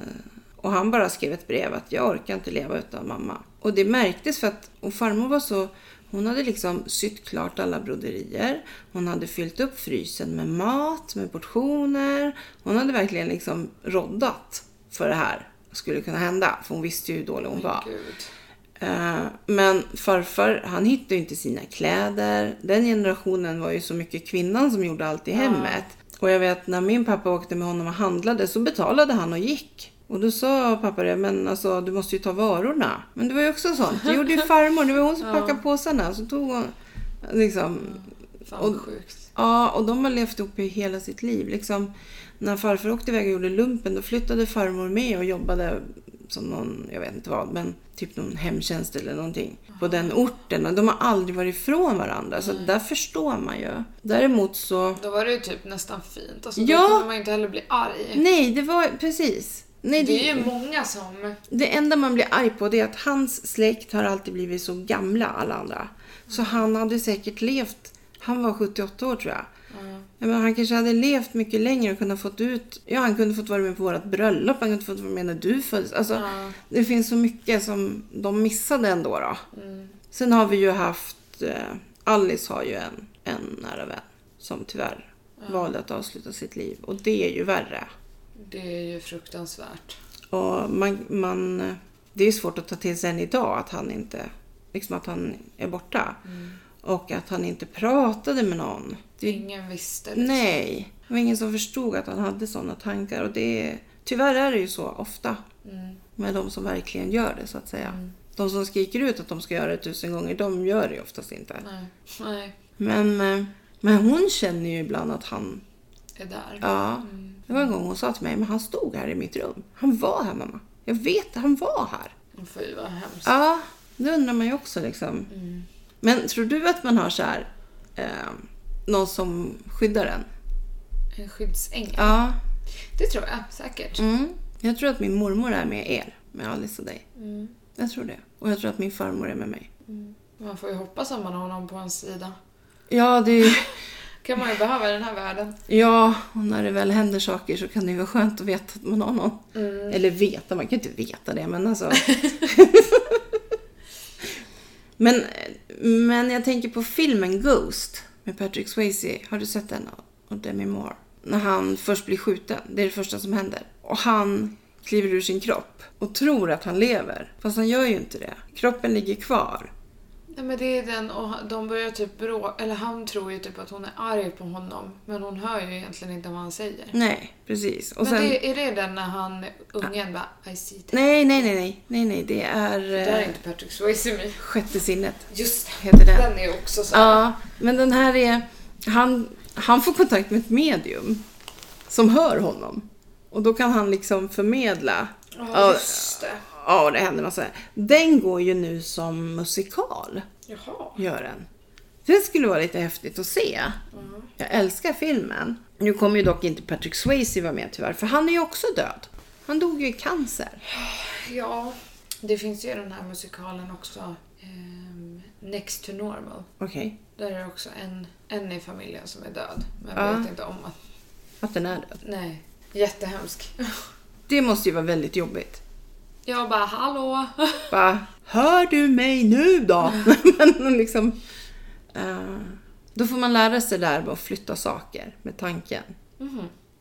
[SPEAKER 2] och han bara skrev ett brev att jag orkar inte leva utan mamma. Och det märktes för att och farmor var så, hon hade liksom sytt klart alla broderier. Hon hade fyllt upp frysen med mat, med portioner. Hon hade verkligen liksom roddat för det här skulle kunna hända. För hon visste ju hur dålig hon var.
[SPEAKER 1] Gud.
[SPEAKER 2] Eh, Men farfar, han hittade ju inte sina kläder. Den generationen var ju så mycket kvinnan som gjorde allt i hemmet. Och jag vet när min pappa åkte med honom och handlade så betalade han och gick. Och då sa pappa det, men alltså du måste ju ta varorna. Men det var ju också sånt. Det gjorde ju farmor, det var hon som packade påsarna. Så tog hon, liksom,
[SPEAKER 1] Fan vad sjukt.
[SPEAKER 2] Ja, och de har levt ihop i hela sitt liv. Liksom, när farfar åkte iväg och gjorde lumpen då flyttade farmor med och jobbade som någon, jag vet inte vad, men typ någon hemtjänst eller någonting på den orten. Och de har aldrig varit ifrån varandra, så där förstår man ju. Däremot så...
[SPEAKER 1] Då var det ju typ nästan fint. Alltså,
[SPEAKER 2] Ja.
[SPEAKER 1] Då kunde man ju inte heller bli arg.
[SPEAKER 2] Nej, det var precis. Nej, det,
[SPEAKER 1] Det är ju många som...
[SPEAKER 2] Det enda man blir arg på det är att hans släkt har alltid blivit så gamla, alla andra. Så han hade säkert levt, han var 78 år tror jag. Ja, men han kanske hade levt mycket längre och kunnat fått ut, ja han kunde fått vara med på vårt bröllop, han kunde fått vara med när du föddes. Alltså, Det finns så mycket som de missade ändå. Då.
[SPEAKER 1] mm.
[SPEAKER 2] Sen har vi ju haft, eh, Alice har ju en, en nära vän som tyvärr valde att avsluta sitt liv och det är ju värre.
[SPEAKER 1] Det är ju fruktansvärt.
[SPEAKER 2] Och man, man, det är svårt att ta till sig än idag att han inte liksom att han är borta. Och att han inte pratade med någon. Det,
[SPEAKER 1] Ingen visste liksom.
[SPEAKER 2] nej, det var ingen som förstod att han hade sådana tankar. Och det, tyvärr är det ju så ofta
[SPEAKER 1] Mm.
[SPEAKER 2] med de som verkligen gör det så att säga. De som skriker ut att de ska göra det tusen gånger, de gör det ju oftast inte.
[SPEAKER 1] Nej. Nej.
[SPEAKER 2] Men, eh, men hon känner ju ibland att han
[SPEAKER 1] Är där. Mm.
[SPEAKER 2] Ja. Det var en gång hon sa till mig, men han stod här i mitt rum. Han var här mamma. Jag vet, han var här.
[SPEAKER 1] Fy vad hemskt.
[SPEAKER 2] Ja, det undrar man ju också liksom.
[SPEAKER 1] Mm.
[SPEAKER 2] Men tror du att man har så här, eh, någon som skyddar en?
[SPEAKER 1] En skyddsängel.
[SPEAKER 2] Ja.
[SPEAKER 1] Det tror jag säkert.
[SPEAKER 2] Mm. Jag tror att min mormor är med er, med Alice och dig.
[SPEAKER 1] Mm.
[SPEAKER 2] Jag tror det. Och jag tror att min farmor är med mig.
[SPEAKER 1] Man får ju hoppas att man har någon på ens sida.
[SPEAKER 2] Ja, det är ju...
[SPEAKER 1] kan man ju behöva i den här världen.
[SPEAKER 2] Ja, och när det väl händer saker så kan det ju vara skönt att veta att man har någon. Eller veta, man kan ju inte veta det men (laughs) alltså. men, men jag tänker på filmen Ghost med Patrick Swayze. Har du sett den? Och Demi Moore. När han först blir skjuten, det är det första som händer. Och han kliver ur sin kropp och tror att han lever. Fast han gör ju inte det. Kroppen ligger kvar.
[SPEAKER 1] Nej men det är den och han- de börjar typ bråka, eller han tror ju typ att hon är arg på honom. Men hon hör ju egentligen inte vad han säger.
[SPEAKER 2] Nej, precis. Och
[SPEAKER 1] men
[SPEAKER 2] sen...
[SPEAKER 1] det, är det den när han, ungen bara I see that.
[SPEAKER 2] Nej, eh, nej, nej, nej, nej, nej, det är...
[SPEAKER 1] Det där är inte Patrick Swayze med.
[SPEAKER 2] Sjätte sinnet (laughs)
[SPEAKER 1] Just
[SPEAKER 2] heter den.
[SPEAKER 1] Den är också så.
[SPEAKER 2] Ja, men den här är... Han, han får kontakt med ett medium som hör honom. Och då kan han liksom förmedla.
[SPEAKER 1] Ja, just det.
[SPEAKER 2] Ja, och det händer massa. Den går ju nu som musikal,
[SPEAKER 1] Jaha.
[SPEAKER 2] gör den. Det skulle vara lite häftigt att se. Jag älskar filmen. Nu kommer ju dock inte Patrick Swayze vara med tyvärr, för han är ju också död. Han dog ju i cancer.
[SPEAKER 1] Ja, det finns ju den här musikalen också. ehm, Next to normal.
[SPEAKER 2] Okej,
[SPEAKER 1] Där är det också en, en i familjen som är död. Men
[SPEAKER 2] Ja.
[SPEAKER 1] vet inte om att...
[SPEAKER 2] att den är död.
[SPEAKER 1] Nej. Jättehemsk. (laughs)
[SPEAKER 2] Det måste ju vara väldigt jobbigt.
[SPEAKER 1] Jag bara hallå.
[SPEAKER 2] (laughs) Bara, hör du mig nu då? Men liksom, eh, Då får man lära sig det där med att flytta saker med tanken.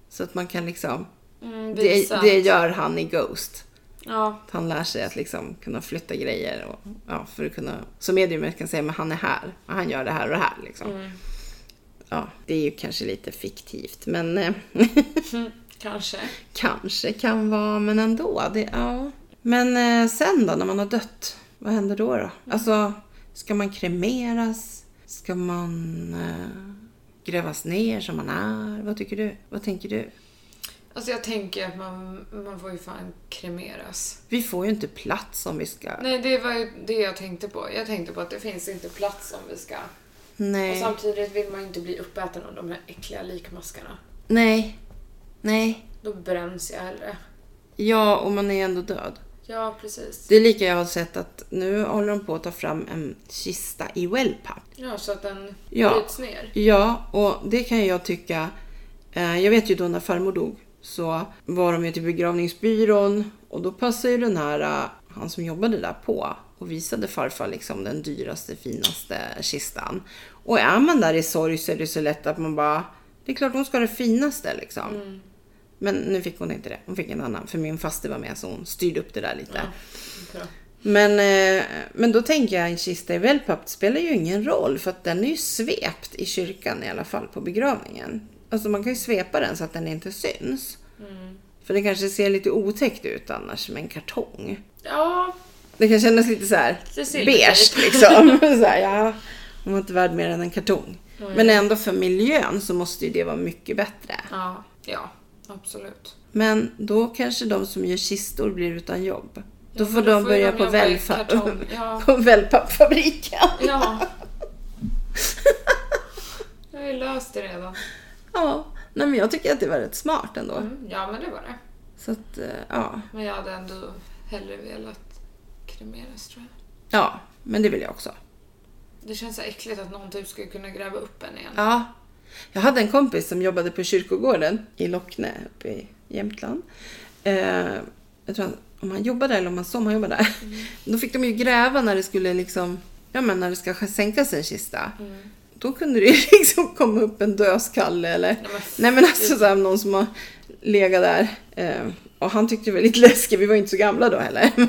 [SPEAKER 2] Så att man kan liksom...
[SPEAKER 1] Mhm. Mm,
[SPEAKER 2] Det,
[SPEAKER 1] visa.
[SPEAKER 2] det gör han i Ghost.
[SPEAKER 1] Ja.
[SPEAKER 2] Att han lär sig att liksom kunna flytta grejer. Och, ja, för att kunna, så mediumet kan säga men han är här, och han gör det här och det här. Liksom. Ja, det är ju kanske lite fiktivt, men eh,
[SPEAKER 1] Mm, (laughs) kanske.
[SPEAKER 2] kanske kan vara, men ändå. Det, ja. Men eh, sen då, när man har dött, vad händer då? då? Alltså, ska man kremeras? Ska man eh, grävas ner som man är? Vad tycker du? Vad tänker du?
[SPEAKER 1] Alltså jag tänker att man, man får ju fan kremeras.
[SPEAKER 2] Vi får ju inte plats om vi ska...
[SPEAKER 1] Nej, det var ju det jag tänkte på. Jag tänkte på att det finns inte plats om vi ska... Och
[SPEAKER 2] Nej.
[SPEAKER 1] samtidigt vill man ju inte bli uppäten av de här äckliga likmaskarna.
[SPEAKER 2] Nej. Nej.
[SPEAKER 1] Då bränns jag hellre.
[SPEAKER 2] Ja, och man är ändå död.
[SPEAKER 1] Ja, precis.
[SPEAKER 2] Det är lika jag har sett att nu håller de på att ta fram en kista i wellpapp.
[SPEAKER 1] Ja, så att den
[SPEAKER 2] Ja.
[SPEAKER 1] bryts ner.
[SPEAKER 2] Ja, och det kan jag tycka. Eh, jag vet ju då när farmor dog så var de ju till begravningsbyrån och då passade ju den här, eh, han som jobbade där på och visade farfar liksom den dyraste, finaste kistan. Och är man där i sorg så är det så lätt att man bara, det är klart hon ska ha det finaste liksom.
[SPEAKER 1] Mm.
[SPEAKER 2] Men nu fick hon inte det, hon fick en annan för min faste var med så hon styrde upp det där lite.
[SPEAKER 1] Bra.
[SPEAKER 2] Men, eh, men då tänker jag en kista i wellpapp spelar ju ingen roll för att den är ju svept i kyrkan i alla fall på begravningen. Alltså man kan ju svepa den så att den inte syns.
[SPEAKER 1] Mm.
[SPEAKER 2] För det kanske ser lite otäckt ut annars med en kartong.
[SPEAKER 1] Ja,
[SPEAKER 2] Det kan kännas lite så här
[SPEAKER 1] Det ser lite
[SPEAKER 2] beige
[SPEAKER 1] ut.
[SPEAKER 2] liksom. (laughs) så här, ja, hon var inte värd mer än en kartong. Men ändå för miljön så måste ju det vara mycket bättre.
[SPEAKER 1] ja, ja, absolut.
[SPEAKER 2] Men då kanske de som gör kistor blir utan jobb. Då
[SPEAKER 1] men
[SPEAKER 2] får
[SPEAKER 1] då
[SPEAKER 2] de
[SPEAKER 1] får ju
[SPEAKER 2] börja
[SPEAKER 1] de
[SPEAKER 2] på,
[SPEAKER 1] jobba i
[SPEAKER 2] välfa-
[SPEAKER 1] kartong, ja.
[SPEAKER 2] (laughs) på wellpappfabriken. (laughs)
[SPEAKER 1] Ja. Jag har ju löst det redan.
[SPEAKER 2] Ja, nej men jag tycker att det var rätt smart ändå.
[SPEAKER 1] Mm, ja, men det var det.
[SPEAKER 2] Så att, eh, ja.
[SPEAKER 1] Men jag hade ändå hellre velat kremeras tror jag.
[SPEAKER 2] Ja, men det vill jag också.
[SPEAKER 1] Det känns så äckligt att någon typ skulle kunna gräva upp en igen.
[SPEAKER 2] Ja. Jag hade en kompis som jobbade på kyrkogården i Lockne uppe i Jämtland. Eh, jag tror han, om han jobbade där eller om han sommarjobbade där. Då fick de ju gräva när det skulle liksom, ja men när det ska sänkas en kista. Då kunde det ju (laughs) liksom komma upp en dödskalle eller,
[SPEAKER 1] men
[SPEAKER 2] nej men alltså så här, någon som har legat där. Eh, och han tyckte det var lite läskigt, vi var ju inte så gamla då heller.
[SPEAKER 1] eh,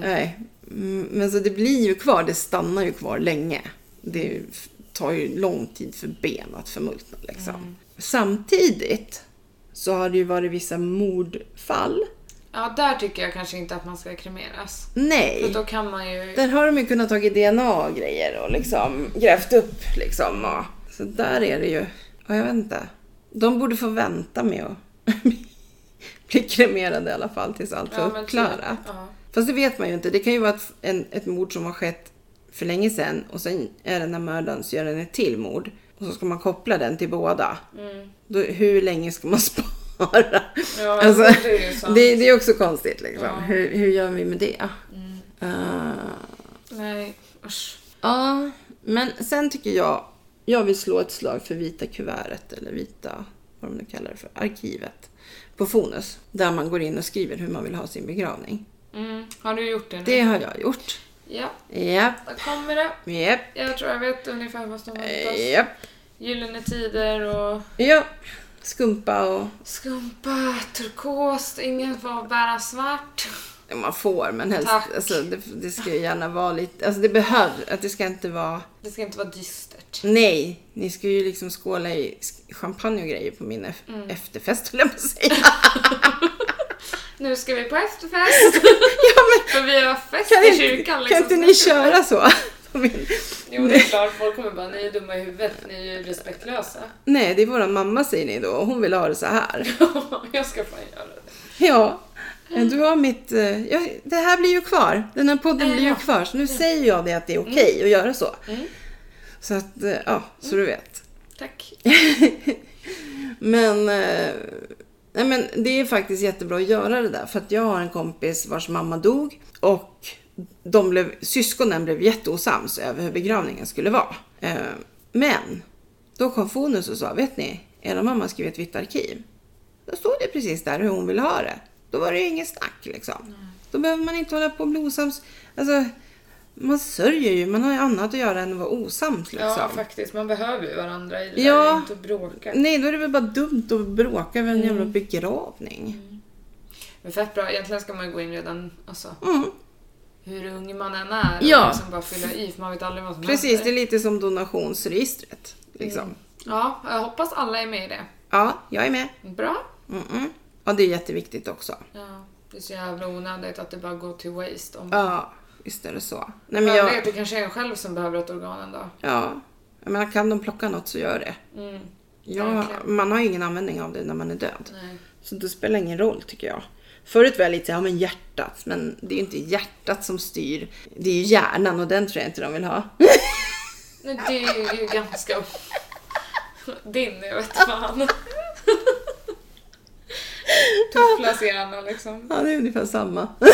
[SPEAKER 2] Nej. Mm, Men så det blir ju kvar, det stannar ju kvar länge. Det är ju- tar ju lång tid för ben att förmultna liksom.
[SPEAKER 1] Mm.
[SPEAKER 2] Samtidigt så har det ju varit vissa mordfall.
[SPEAKER 1] Ja, där tycker jag kanske inte att man ska kremeras. För
[SPEAKER 2] Nej.
[SPEAKER 1] då kan man ju...
[SPEAKER 2] Där har de ju kunnat tagit DNA och grejer och liksom grävt upp liksom. Och, så där är det ju. Ja, jag vet inte. De borde få vänta med att (laughs) bli kremerade i alla fall tills allt
[SPEAKER 1] Ja,
[SPEAKER 2] är
[SPEAKER 1] men typ.
[SPEAKER 2] uppklarat.
[SPEAKER 1] Ja.
[SPEAKER 2] Fast det vet man ju inte. Det kan ju vara ett, en, ett mord som har skett för länge sedan och sen är det när mördaren så gör den ett till mord. Och så ska man koppla den till båda.
[SPEAKER 1] Mm.
[SPEAKER 2] Då, hur länge ska man (laughs) spara?
[SPEAKER 1] Ja,
[SPEAKER 2] Alltså,
[SPEAKER 1] det är ju sant.
[SPEAKER 2] det, det är också konstigt liksom.
[SPEAKER 1] Ja. Mm.
[SPEAKER 2] Hur, hur gör vi med det? Eh,
[SPEAKER 1] Nej, usch.
[SPEAKER 2] Ja, men sen tycker jag... Jag vill slå ett slag för vita kuvertet, eller vita, vad de nu kallar det för, arkivet på Fonus. Där man går in och skriver hur man vill ha sin begravning.
[SPEAKER 1] Mm. Har du gjort det nu?
[SPEAKER 2] Det har jag gjort.
[SPEAKER 1] Ja,
[SPEAKER 2] Japp,
[SPEAKER 1] där kommer det.
[SPEAKER 2] japp,
[SPEAKER 1] Jag tror jag vet ungefär vad som väntas.
[SPEAKER 2] japp,
[SPEAKER 1] Gyllene tider och
[SPEAKER 2] ja. Skumpa och...
[SPEAKER 1] skumpa, turkost, ingen får bära svart.
[SPEAKER 2] ja, Man får, men helst...
[SPEAKER 1] Tack.
[SPEAKER 2] Alltså, det, det ska ju gärna vara lite... Alltså det behövs, att det ska inte vara...
[SPEAKER 1] Det ska inte vara dystert.
[SPEAKER 2] Nej, ni ska ju liksom skåla i sk- champagne och grejer på min ef-
[SPEAKER 1] Mm.
[SPEAKER 2] efterfest, höll jag på att säga. (laughs)
[SPEAKER 1] Nu ska vi på efterfest!
[SPEAKER 2] ja,
[SPEAKER 1] För
[SPEAKER 2] men
[SPEAKER 1] vi har fest
[SPEAKER 2] Kan
[SPEAKER 1] i
[SPEAKER 2] inte,
[SPEAKER 1] kyrkan
[SPEAKER 2] kan
[SPEAKER 1] liksom.
[SPEAKER 2] inte ni köra så? (laughs) På min-
[SPEAKER 1] Jo det är klart, folk kommer bara ni är dumma i huvudet, ni är ju respektlösa. (laughs)
[SPEAKER 2] Nej, det är våran mamma säger ni då och hon vill ha det så här.
[SPEAKER 1] jag ska fan göra det.
[SPEAKER 2] (laughs) Ja, men du har mitt... eh, Ja, det här blir ju kvar. Den här podden
[SPEAKER 1] Äh,
[SPEAKER 2] blir ju
[SPEAKER 1] ja.
[SPEAKER 2] kvar. Så nu säger jag det att det är okej att göra så.
[SPEAKER 1] Mm.
[SPEAKER 2] Så att, eh, ja, så du vet.
[SPEAKER 1] Tack.
[SPEAKER 2] Men, eh, nej men det är faktiskt jättebra att göra det där. För att jag har en kompis vars mamma dog och de blev, syskonen blev jätteosams över hur begravningen skulle vara. Eh, Men då kom Fonus och sa, vet ni, era mamma skrev ett vitt arkiv. Då stod det precis där hur hon ville ha det. Då var det ju inget snack liksom. Då behöver man inte hålla på och bli osams. Alltså, man sörjer ju. Man har ju annat att göra än att vara osams liksom.
[SPEAKER 1] Ja, faktiskt. Man behöver ju varandra i det
[SPEAKER 2] Ja.
[SPEAKER 1] där, inte bråka.
[SPEAKER 2] Nej, då är det väl bara dumt att bråka över en jävla
[SPEAKER 1] Mm.
[SPEAKER 2] begravning.
[SPEAKER 1] Men fett bra. Egentligen ska man ju gå in redan, alltså,
[SPEAKER 2] Mm.
[SPEAKER 1] hur ung man än är.
[SPEAKER 2] Ja.
[SPEAKER 1] Och liksom bara fylla i, för man vet aldrig vad som
[SPEAKER 2] Precis, det är
[SPEAKER 1] händer.
[SPEAKER 2] lite som donationsregistret. Liksom.
[SPEAKER 1] Mm. Ja, jag hoppas alla är med i det.
[SPEAKER 2] Ja, jag är med.
[SPEAKER 1] Bra.
[SPEAKER 2] Mm-mm. Ja, det är jätteviktigt också.
[SPEAKER 1] Ja, det är så jävla onödigt att det bara går till waste. Om...
[SPEAKER 2] Ja, visst är det så. Nej, men
[SPEAKER 1] Men
[SPEAKER 2] jag,
[SPEAKER 1] vet, det kanske är en själv som behöver ett organ en dag.
[SPEAKER 2] ja, jag menar, kan de plocka något så gör det.
[SPEAKER 1] Mm,
[SPEAKER 2] Ja,
[SPEAKER 1] Verkligen.
[SPEAKER 2] man har ju ingen användning av det när man är död.
[SPEAKER 1] nej.
[SPEAKER 2] Så det spelar ingen roll tycker jag. Förut var jag lite ja men hjärtat, men det är ju inte hjärtat som styr. Det är ju hjärnan och den tror jag inte de vill ha.
[SPEAKER 1] Nej, det är ju ganska... Din, jag vet (laughs) fan. Tufflas i Anna liksom.
[SPEAKER 2] Ja, det är ungefär samma. (laughs)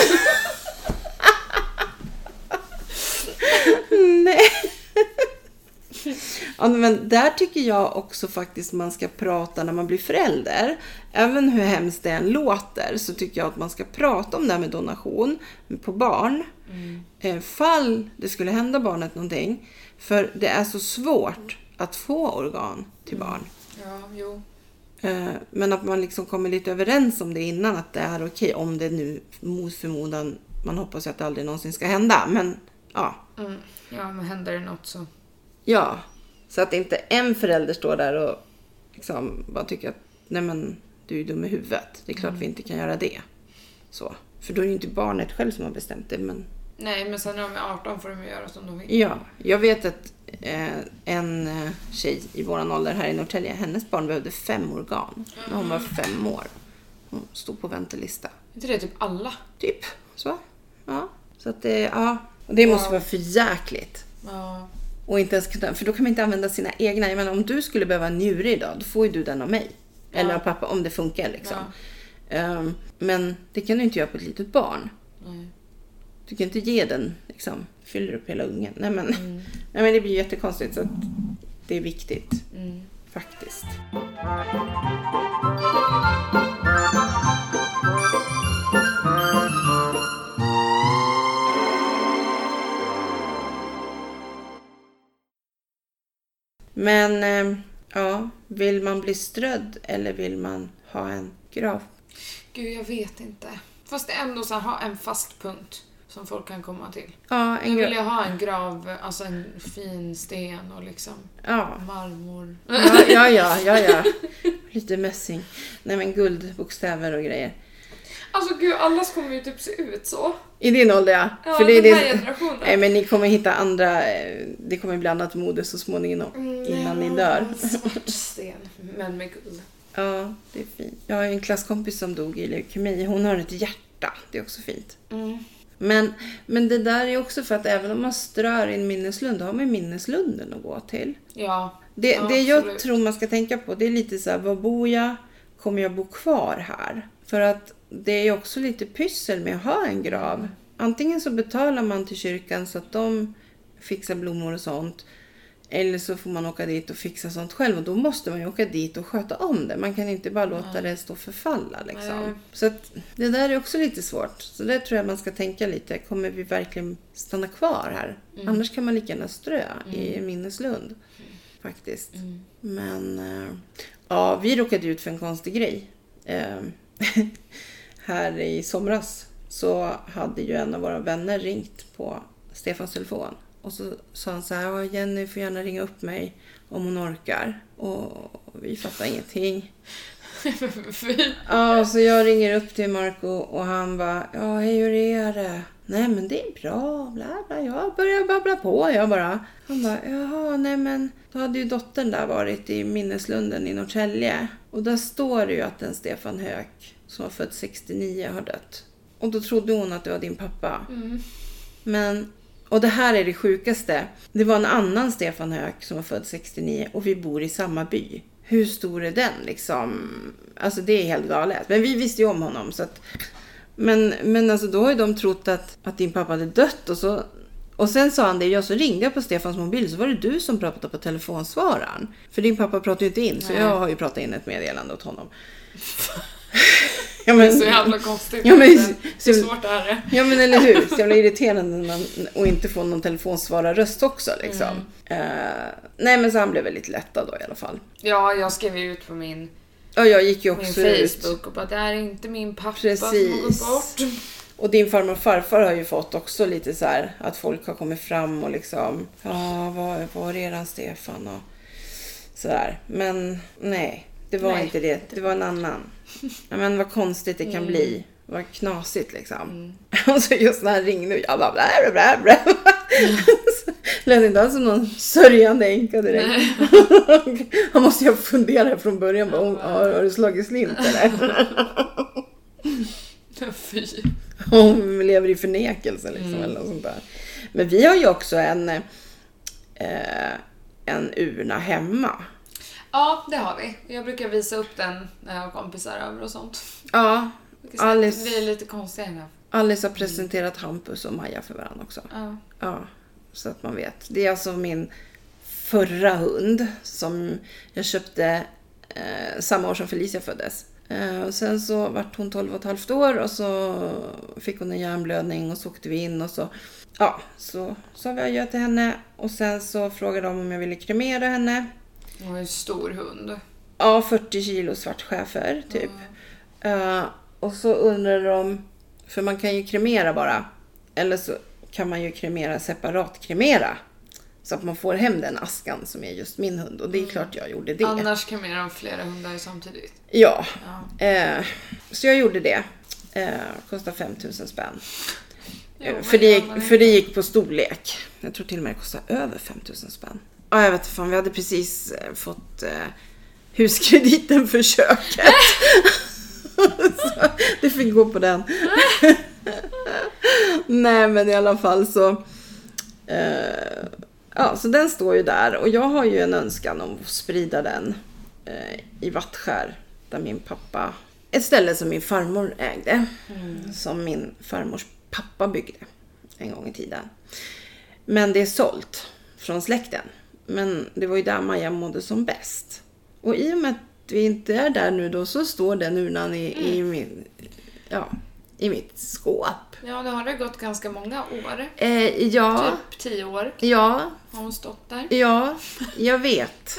[SPEAKER 2] Nej. Ja, men där tycker jag också faktiskt man ska prata när man blir förälder. Även hur hemskt det än låter så tycker jag att man ska prata om det här med donation på barn. Mm. Fall det skulle hända barnet någonting. För det är så svårt att få organ till barn.
[SPEAKER 1] Ja, jo.
[SPEAKER 2] Eh, Men att man liksom kommer lite överens om det innan, att det är okej om det nu mot förmodan, man hoppas ju att det aldrig någonsin ska hända, men ja.
[SPEAKER 1] Mm. Ja, men händer det något så...
[SPEAKER 2] Ja, så att inte en förälder står där och liksom bara tycker att nej men du är ju dum i huvudet, det är klart vi inte kan göra det. Så. För då är det ju inte barnet själv som har bestämt det, men
[SPEAKER 1] Nej, men sen när de är 18 får de ju göra som de vill.
[SPEAKER 2] Ja, jag vet att eh, en eh, tjej i våran ålder här i Norrtälje, hennes barn behövde fem organ när hon var fem år. Hon stod på väntelista.
[SPEAKER 1] inte det typ alla?
[SPEAKER 2] Typ så. Ja. Så att det, ja. Och det måste
[SPEAKER 1] Ja.
[SPEAKER 2] vara för jäkligt.
[SPEAKER 1] Ja.
[SPEAKER 2] Och inte ens kunna, för då kan man inte använda sina egna. Jag menar, om du skulle behöva en njure idag, då får ju du den av mig. Eller av pappa, om det funkar liksom. Ehm, men det kan du inte göra på ett litet barn.
[SPEAKER 1] Nej.
[SPEAKER 2] Du kan inte ge den, liksom, fyller upp hela ungen. Nej men, (laughs) nej, men det blir jättekonstigt. Så att det är viktigt,
[SPEAKER 1] Mm.
[SPEAKER 2] faktiskt. Men, ehm, ja, vill man bli strödd eller vill man ha en grav?
[SPEAKER 1] Gud, jag vet inte. Fast ändå så här, ha en fast punkt som folk kan komma till.
[SPEAKER 2] Ja,
[SPEAKER 1] Nu
[SPEAKER 2] en
[SPEAKER 1] vill
[SPEAKER 2] grav.
[SPEAKER 1] jag ha en grav, alltså en fin sten och liksom
[SPEAKER 2] Ja.
[SPEAKER 1] marmor.
[SPEAKER 2] Ja, ja, ja, ja, ja. Lite mässing. Nej men guldbokstäver och grejer.
[SPEAKER 1] Alltså gud, allas kommer ju typ se ut så.
[SPEAKER 2] I din ålder ja.
[SPEAKER 1] Ja,
[SPEAKER 2] För det är
[SPEAKER 1] den här
[SPEAKER 2] det-
[SPEAKER 1] generationen.
[SPEAKER 2] Nej men ni kommer hitta andra, eh, det kommer bli annat mode så småningom
[SPEAKER 1] Mm,
[SPEAKER 2] innan ni dör.
[SPEAKER 1] En svart sten, men med guld.
[SPEAKER 2] Ja, det är fint. Jag har ju en klasskompis som dog i leukemi. Hon har ett hjärta. Det är också fint.
[SPEAKER 1] Mm.
[SPEAKER 2] Men, men det där är också för att även om man strör i en minneslund, då har man minneslunden att gå till.
[SPEAKER 1] Ja,
[SPEAKER 2] Det,
[SPEAKER 1] ja,
[SPEAKER 2] det jag
[SPEAKER 1] absolut.
[SPEAKER 2] tror man ska tänka på det är lite så här, var bor jag? Kommer jag bo kvar här? För att det är ju också lite pyssel med att ha en grav. Antingen så betalar man till kyrkan så att de fixar blommor och sånt. Eller så får man åka dit och fixa sånt själv och då måste man ju åka dit och sköta om det. Man kan inte bara låta det stå förfalla
[SPEAKER 1] Nej.
[SPEAKER 2] liksom. Så att det där är också lite svårt. Så där tror jag man ska tänka lite. Kommer vi verkligen stanna kvar här?
[SPEAKER 1] mm.
[SPEAKER 2] Annars kan man lika gärna strö i minneslund faktiskt.
[SPEAKER 1] Mm.
[SPEAKER 2] Men eh, ja, vi råkade ut för en konstig grej. Eh, (laughs) här i somras så hade ju en av våra vänner ringt på Stefans telefon. Och så sa han så här, "Ja, Jenny får gärna ringa upp mig om hon orkar. Och vi fattar ingenting.
[SPEAKER 1] Fy.
[SPEAKER 2] Ja, så jag ringer upp till Marco och han bara, ja hej hur är det? Nej men det är bra, bla bla. Jag börjar babbla på jag bara. Han bara, jaha nej men då hade ju dottern där varit i minneslunden i Norrtälje. Och där står det ju att en Stefan Höök som var född 69 har dött. Och då trodde hon att det var din pappa. Men, och det här är det sjukaste. Det var en annan Stefan Höök som var född 69 och vi bor i samma by. Hur stor är den liksom? Alltså det är helt galet. Men vi visste ju om honom så att... Men, men alltså då har ju de trott att, att din pappa hade dött och så... Och sen sa han det, jag så ringde jag på Stefans mobil så var det du som pratade på telefonsvararen. För din pappa pratade ju inte in så jag har ju pratat in ett meddelande åt honom. (laughs) Ja,
[SPEAKER 1] Det
[SPEAKER 2] men,
[SPEAKER 1] är så jävla konstigt.
[SPEAKER 2] Ja, men-
[SPEAKER 1] Hur svårt är det?
[SPEAKER 2] Ja men eller hur, så jävla irriterande när man, och inte få någon telefonsvararröst också liksom.
[SPEAKER 1] Mm.
[SPEAKER 2] Eh, nej men så han blev väldigt lättad då i alla fall.
[SPEAKER 1] Ja, jag skrev ju ut på min,
[SPEAKER 2] Och jag gick ju
[SPEAKER 1] min
[SPEAKER 2] också ut.
[SPEAKER 1] Facebook och bara det här är inte min pappa som har gått
[SPEAKER 2] Precis.
[SPEAKER 1] bort. (laughs)
[SPEAKER 2] Och din farmor och farfar har ju fått också lite så här att folk har kommit fram och liksom ja, var, var är eran Stefan och sådär. Men nej, det var
[SPEAKER 1] Nej.
[SPEAKER 2] inte det. Det var en annan. Ja, men vad konstigt det kan bli. Vad knasigt liksom. (laughs) Och så just när han ringde och jag bara blä, blä, blä, blä. (laughs) Så Lät inte alls som någon sörjande änka direkt. (laughs) Han måste ju ha funderat från början. Bara, "Hon- har, har du slagit slint eller?
[SPEAKER 1] Fy.
[SPEAKER 2] (laughs) Hon lever i förnekelse liksom eller något sånt där. Men vi har ju också en, eh, en urna hemma.
[SPEAKER 1] Ja, det har vi. Jag brukar visa upp den när jag har kompisar över och sånt.
[SPEAKER 2] Ja,
[SPEAKER 1] Jag brukar säga att
[SPEAKER 2] Alice,
[SPEAKER 1] Vi är lite konstiga i den här.
[SPEAKER 2] Alice har presenterat Hampus och Maja för varandra också.
[SPEAKER 1] Ja.
[SPEAKER 2] Ja, så att man vet. Det är alltså min förra hund som jag köpte eh, samma år som Felicia föddes. Eh, och sen så vart hon 12 och ett halvt år och så fick hon en hjärnblödning och så åkte vi in och så ja, så sa vi adjö till henne och sen så frågade de om jag ville kremera henne.
[SPEAKER 1] Hon är en stor hund.
[SPEAKER 2] Ja, 40 kilo svart schäfer typ. Eh, och så undrade de, för man kan ju kremera bara. Eller så kan man ju kremera separat kremera. Så att man får hem den askan som är just min hund. Och det är klart jag gjorde det.
[SPEAKER 1] Annars kan man göra flera hundar samtidigt.
[SPEAKER 2] Ja.
[SPEAKER 1] Ja.
[SPEAKER 2] Eh, så jag gjorde det. Eh, kostar 5000 spänn.
[SPEAKER 1] Jo, men
[SPEAKER 2] Eh, För det,
[SPEAKER 1] gör
[SPEAKER 2] gick,
[SPEAKER 1] man
[SPEAKER 2] för det gick på storlek. Jag tror till och med det kostade över 5000 spänn. Ja, jag vet inte fan. Vi hade precis eh, fått eh, huskrediten för köket. (laughs) så det fick gå på den. (laughs) Nej, men i alla fall så. Eh, ja, så den står ju där. Och jag har ju en önskan om att sprida den eh, i Vattskär. Där min pappa... Ett ställe som min farmor ägde. Som min farmors pappa byggde en gång i tiden. Men det är sålt från släkten. Men det var ju där Maja mådde som bäst. Och i och med att vi inte är där nu då så står den urnan i, i, min, ja, i mitt skåp.
[SPEAKER 1] Ja, nu har det gått ganska många år.
[SPEAKER 2] Eh, ja,
[SPEAKER 1] Typ tio år
[SPEAKER 2] ja,
[SPEAKER 1] har hon stått där.
[SPEAKER 2] ja, jag (laughs) vet.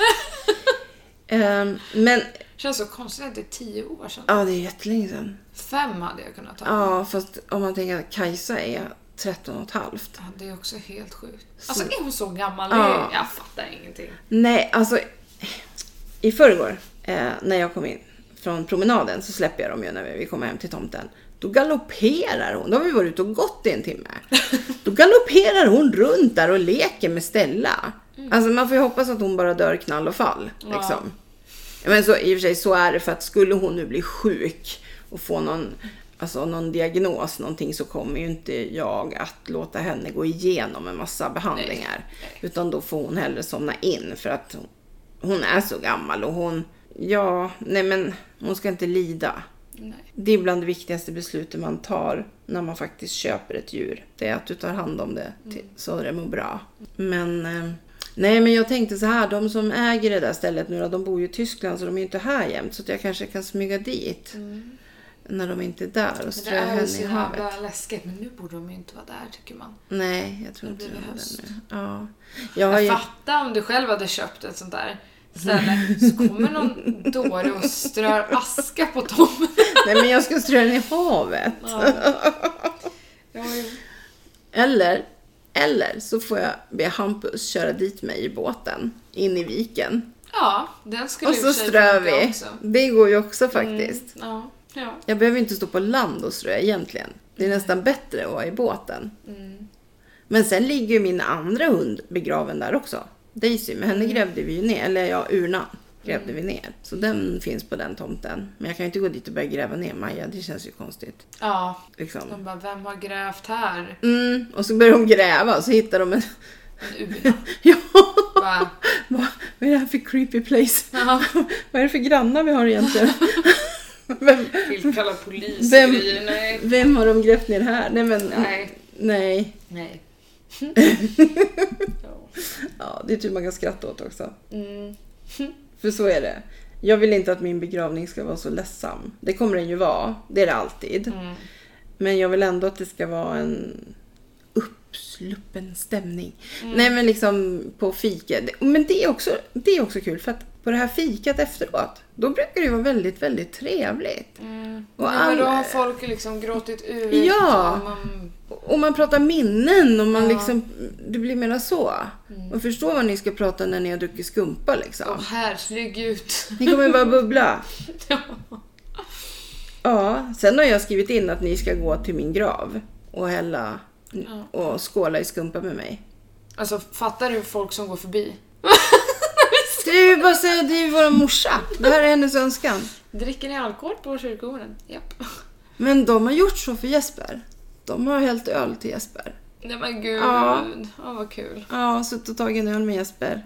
[SPEAKER 2] Ehm, men,
[SPEAKER 1] Känns så konstigt att det är tio år sedan.
[SPEAKER 2] ja det är jättelänge sedan.
[SPEAKER 1] Fem hade jag kunnat ta.
[SPEAKER 2] Ja, fast om man tänker att Kajsa är 13 och ett halvt.
[SPEAKER 1] Ja, det är också helt sjukt. Alltså är hon så gammal?
[SPEAKER 2] Ja.
[SPEAKER 1] Jag fattar ingenting.
[SPEAKER 2] Nej, alltså i förrgår eh, när jag kom in från promenaden så släpper jag dem ju när vi kommer hem till tomten. Då galopperar hon. Då har vi varit ute och gått i en (laughs) timme. Då galopperar hon runt där och leker med Stella. Alltså man får ju hoppas att hon bara dör knall och fall. Liksom. Men så, i och för sig så är det för att skulle hon nu bli sjuk och få någon, alltså någon diagnos, någonting så kommer ju inte jag att låta henne gå igenom en massa behandlingar. Utan då får hon hellre somna in för att hon, hon är så gammal och hon, ja, nej men hon ska inte lida.
[SPEAKER 1] Nej.
[SPEAKER 2] Det är bland det viktigaste beslutet man tar när man faktiskt köper ett djur. Det är att du tar hand om det till, så det mår bra. Men eh, nej, men jag tänkte så här. De som äger det där stället nu då, de bor ju i Tyskland så de är ju inte här jämt. Så att jag kanske kan smyga dit när de inte är där och
[SPEAKER 1] Men det
[SPEAKER 2] strö
[SPEAKER 1] är ju
[SPEAKER 2] henne
[SPEAKER 1] så
[SPEAKER 2] i havet.
[SPEAKER 1] jävla läskigt. Men nu borde de ju inte vara där tycker man.
[SPEAKER 2] Nej, jag tror inte
[SPEAKER 1] blir
[SPEAKER 2] det.
[SPEAKER 1] det
[SPEAKER 2] är
[SPEAKER 1] höst.
[SPEAKER 2] det nu. Ja. Jag har ju...
[SPEAKER 1] Fatta om du själv hade köpt ett sånt där ställe. Så kommer någon dåre och strör aska på Tom.
[SPEAKER 2] Nej, men jag ska strö den i havet.
[SPEAKER 1] Jag har ju-
[SPEAKER 2] Eller, eller så får jag be Hampus köra dit mig i båten in i viken.
[SPEAKER 1] Ja, den skulle
[SPEAKER 2] Och
[SPEAKER 1] i
[SPEAKER 2] så
[SPEAKER 1] för sig
[SPEAKER 2] strör
[SPEAKER 1] funka
[SPEAKER 2] vi.
[SPEAKER 1] också. Mm.
[SPEAKER 2] Det går ju också faktiskt.
[SPEAKER 1] Ja, ja.
[SPEAKER 2] Jag behöver inte stå på land och strö egentligen. Det är nästan bättre att vara i båten.
[SPEAKER 1] Mm.
[SPEAKER 2] Men sen ligger ju min andra hund begraven där också. Daisy, men
[SPEAKER 1] Mm.
[SPEAKER 2] henne grävde vi ju ner. Eller ja, urnan grävde vi ner. Så den finns på den tomten. Men jag kan ju inte gå dit och börja gräva ner Maja. Det känns ju konstigt.
[SPEAKER 1] ja.
[SPEAKER 2] Liksom.
[SPEAKER 1] De bara, vem har grävt här?
[SPEAKER 2] Mm, och så börjar de gräva och så hittar de en... (laughs)
[SPEAKER 1] En urna.
[SPEAKER 2] ja! (laughs)
[SPEAKER 1] Bara,
[SPEAKER 2] Vad vad är det här för creepy place?
[SPEAKER 1] Ja.
[SPEAKER 2] Vad är det för grannar vi
[SPEAKER 1] (laughs)
[SPEAKER 2] har egentligen? Vem,
[SPEAKER 1] tillkalla polis och
[SPEAKER 2] Vem-
[SPEAKER 1] grejer. Nej.
[SPEAKER 2] Vem har de grävt ner här? Nej men...
[SPEAKER 1] Nej.
[SPEAKER 2] Nej.
[SPEAKER 1] Nej. Ja.
[SPEAKER 2] Ja, det är typ man kan skratta åt också.
[SPEAKER 1] Mm.
[SPEAKER 2] För så är det. Jag vill inte att min begravning ska vara så ledsam. Det kommer den ju vara. Det är det alltid.
[SPEAKER 1] Mm.
[SPEAKER 2] Men jag vill ändå att det ska vara en uppsluppen stämning. Nej men liksom på fika. Men det är, också, det är också kul för att på det här fikat efteråt, då brukar det vara väldigt, väldigt trevligt.
[SPEAKER 1] Ja,
[SPEAKER 2] Och,
[SPEAKER 1] Mm. men då
[SPEAKER 2] all-
[SPEAKER 1] har folk liksom gråtit ut.
[SPEAKER 2] Ja.
[SPEAKER 1] och Man,
[SPEAKER 2] och man pratar minnen och man liksom, det blir mera så. Och förstår vad ni ska prata när ni har druckit skumpa liksom.
[SPEAKER 1] och här, slygg ut.
[SPEAKER 2] Ni kommer bara bubbla.
[SPEAKER 1] (laughs) Ja.
[SPEAKER 2] Ja, sen har jag skrivit in att ni ska gå till min grav och hälla och skåla i skumpa med mig.
[SPEAKER 1] Alltså fattar du folk som går förbi?
[SPEAKER 2] Ska du bara säga att det är vår morsa? Det här är hennes önskan.
[SPEAKER 1] Dricker ni alkohol på kyrkogården? Japp.
[SPEAKER 2] Men de har gjort så för Jesper. De har hällt öl till Jesper.
[SPEAKER 1] (laughs) Nej men gud.
[SPEAKER 2] Ja.
[SPEAKER 1] Ja, vad kul.
[SPEAKER 2] Ja, suttit och tagit en öl
[SPEAKER 1] (laughs)
[SPEAKER 2] med Jesper.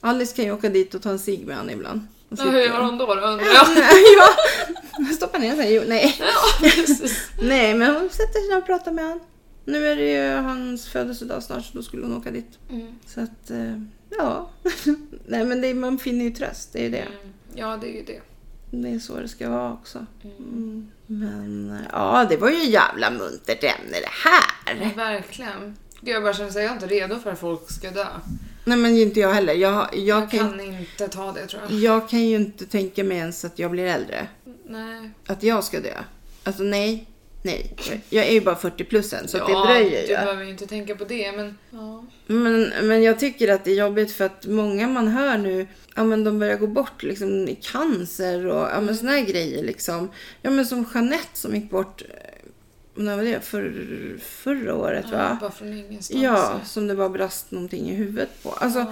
[SPEAKER 2] Alice kan ju åka dit och ta en cigg med honom ibland. Och
[SPEAKER 1] Ja,
[SPEAKER 2] sitta-
[SPEAKER 1] hur gör hon då, då (laughs) undrar jag?
[SPEAKER 2] (laughs) ja, stoppa ner sig. Jo, nej.
[SPEAKER 1] Ja, precis.
[SPEAKER 2] Nej, men hon sätter sig ner och pratar med honom. Nu är det ju hans födelsedag snart, så då skulle hon åka dit.
[SPEAKER 1] Mm.
[SPEAKER 2] Så att, eh, ja. (laughs) Nej, men det, är- man finner ju tröst. Det är ju det.
[SPEAKER 1] Mm. Ja, det är ju det.
[SPEAKER 2] Det är så det ska vara också. Mm. Men eh, ja, det var ju jävla muntert ämne det här.
[SPEAKER 1] Verkligen. Gud, jag bara känner att jag är inte redo för att folk ska dö.
[SPEAKER 2] Nej, men inte jag heller. Jag, jag,
[SPEAKER 1] Jag
[SPEAKER 2] kan,
[SPEAKER 1] kan inte ta det tror jag.
[SPEAKER 2] jag kan ju inte tänka mig ens att jag blir äldre.
[SPEAKER 1] Nej.
[SPEAKER 2] Att jag ska dö. Alltså nej, nej. Jag- Jag är ju bara 40 plus än, så att
[SPEAKER 1] Ja,
[SPEAKER 2] det dröjer
[SPEAKER 1] Du
[SPEAKER 2] ju.
[SPEAKER 1] behöver ju inte tänka på det, men... Ja.
[SPEAKER 2] Men, men jag tycker att det är jobbigt för att många man hör nu, ja men de börjar gå bort liksom i cancer och ja men såna här grejer liksom. Ja men som Jeanette som gick bort, eh, när var det? För, förra året va?
[SPEAKER 1] Bara från ingenstans.
[SPEAKER 2] Ja, som det bara brast någonting i huvudet på. Alltså,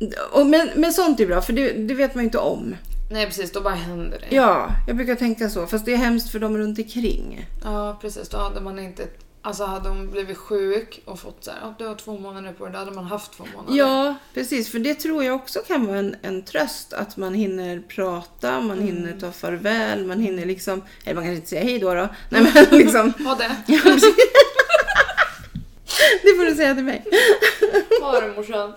[SPEAKER 1] Ja.
[SPEAKER 2] och, men, men sånt är bra för det, det vet man ju inte om.
[SPEAKER 1] Nej, precis. Då bara händer det.
[SPEAKER 2] Ja, jag brukar tänka så. Fast det är hemskt för dem runt omkring.
[SPEAKER 1] Ja, precis. Då hade man inte... Alltså hade hon blivit sjuk och fått så här, "Ja, du har två månader på dig, då hade man haft två månader.
[SPEAKER 2] Ja, precis. För det tror jag också kan vara en, en tröst. Att man hinner prata,
[SPEAKER 1] Mm.
[SPEAKER 2] man hinner ta farväl, man hinner liksom... Eller man kanske inte säger hej då. då. Nej, men (laughs) liksom...
[SPEAKER 1] Ha det!
[SPEAKER 2] Ja, precis. det får du säga
[SPEAKER 1] (laughs)
[SPEAKER 2] till mig.
[SPEAKER 1] Ha det morsan!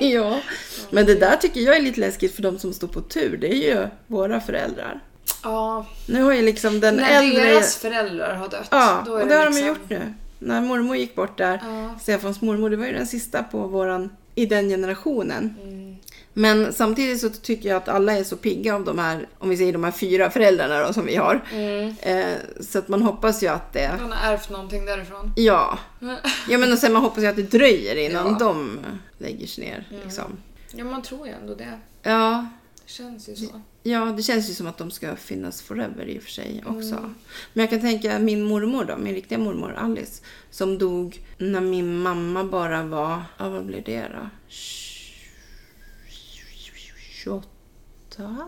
[SPEAKER 2] ja. Men det där tycker jag är lite läskigt för de som står på tur. Det är ju våra föräldrar.
[SPEAKER 1] Ja,
[SPEAKER 2] Nu har ju liksom den
[SPEAKER 1] när
[SPEAKER 2] äldre...
[SPEAKER 1] deras föräldrar har dött.
[SPEAKER 2] Ja,
[SPEAKER 1] då är
[SPEAKER 2] och det har de
[SPEAKER 1] liksom-
[SPEAKER 2] ju gjort nu. När mormor gick bort där,
[SPEAKER 1] Ja.
[SPEAKER 2] Stefans mormor, det var ju den sista på våran, i den generationen.
[SPEAKER 1] Mm.
[SPEAKER 2] Men samtidigt så tycker jag att alla är så pigga av de här, om vi säger de här fyra föräldrarna då, som vi har.
[SPEAKER 1] Mm.
[SPEAKER 2] Eh, så att man hoppas ju att det,
[SPEAKER 1] Han har ärvt någonting därifrån.
[SPEAKER 2] ja. ja men och sen man hoppas ju att det dröjer innan
[SPEAKER 1] Ja.
[SPEAKER 2] de lägger sig ner. Liksom.
[SPEAKER 1] Ja, man tror ju ändå det.
[SPEAKER 2] Ja,
[SPEAKER 1] Det känns ju så.
[SPEAKER 2] Ja, det känns ju som att de ska finnas forever i och för sig också.
[SPEAKER 1] Mm.
[SPEAKER 2] Men jag kan tänka min mormor då, min riktiga mormor Alice, som dog när min mamma bara var, ja vad blev det då? 28?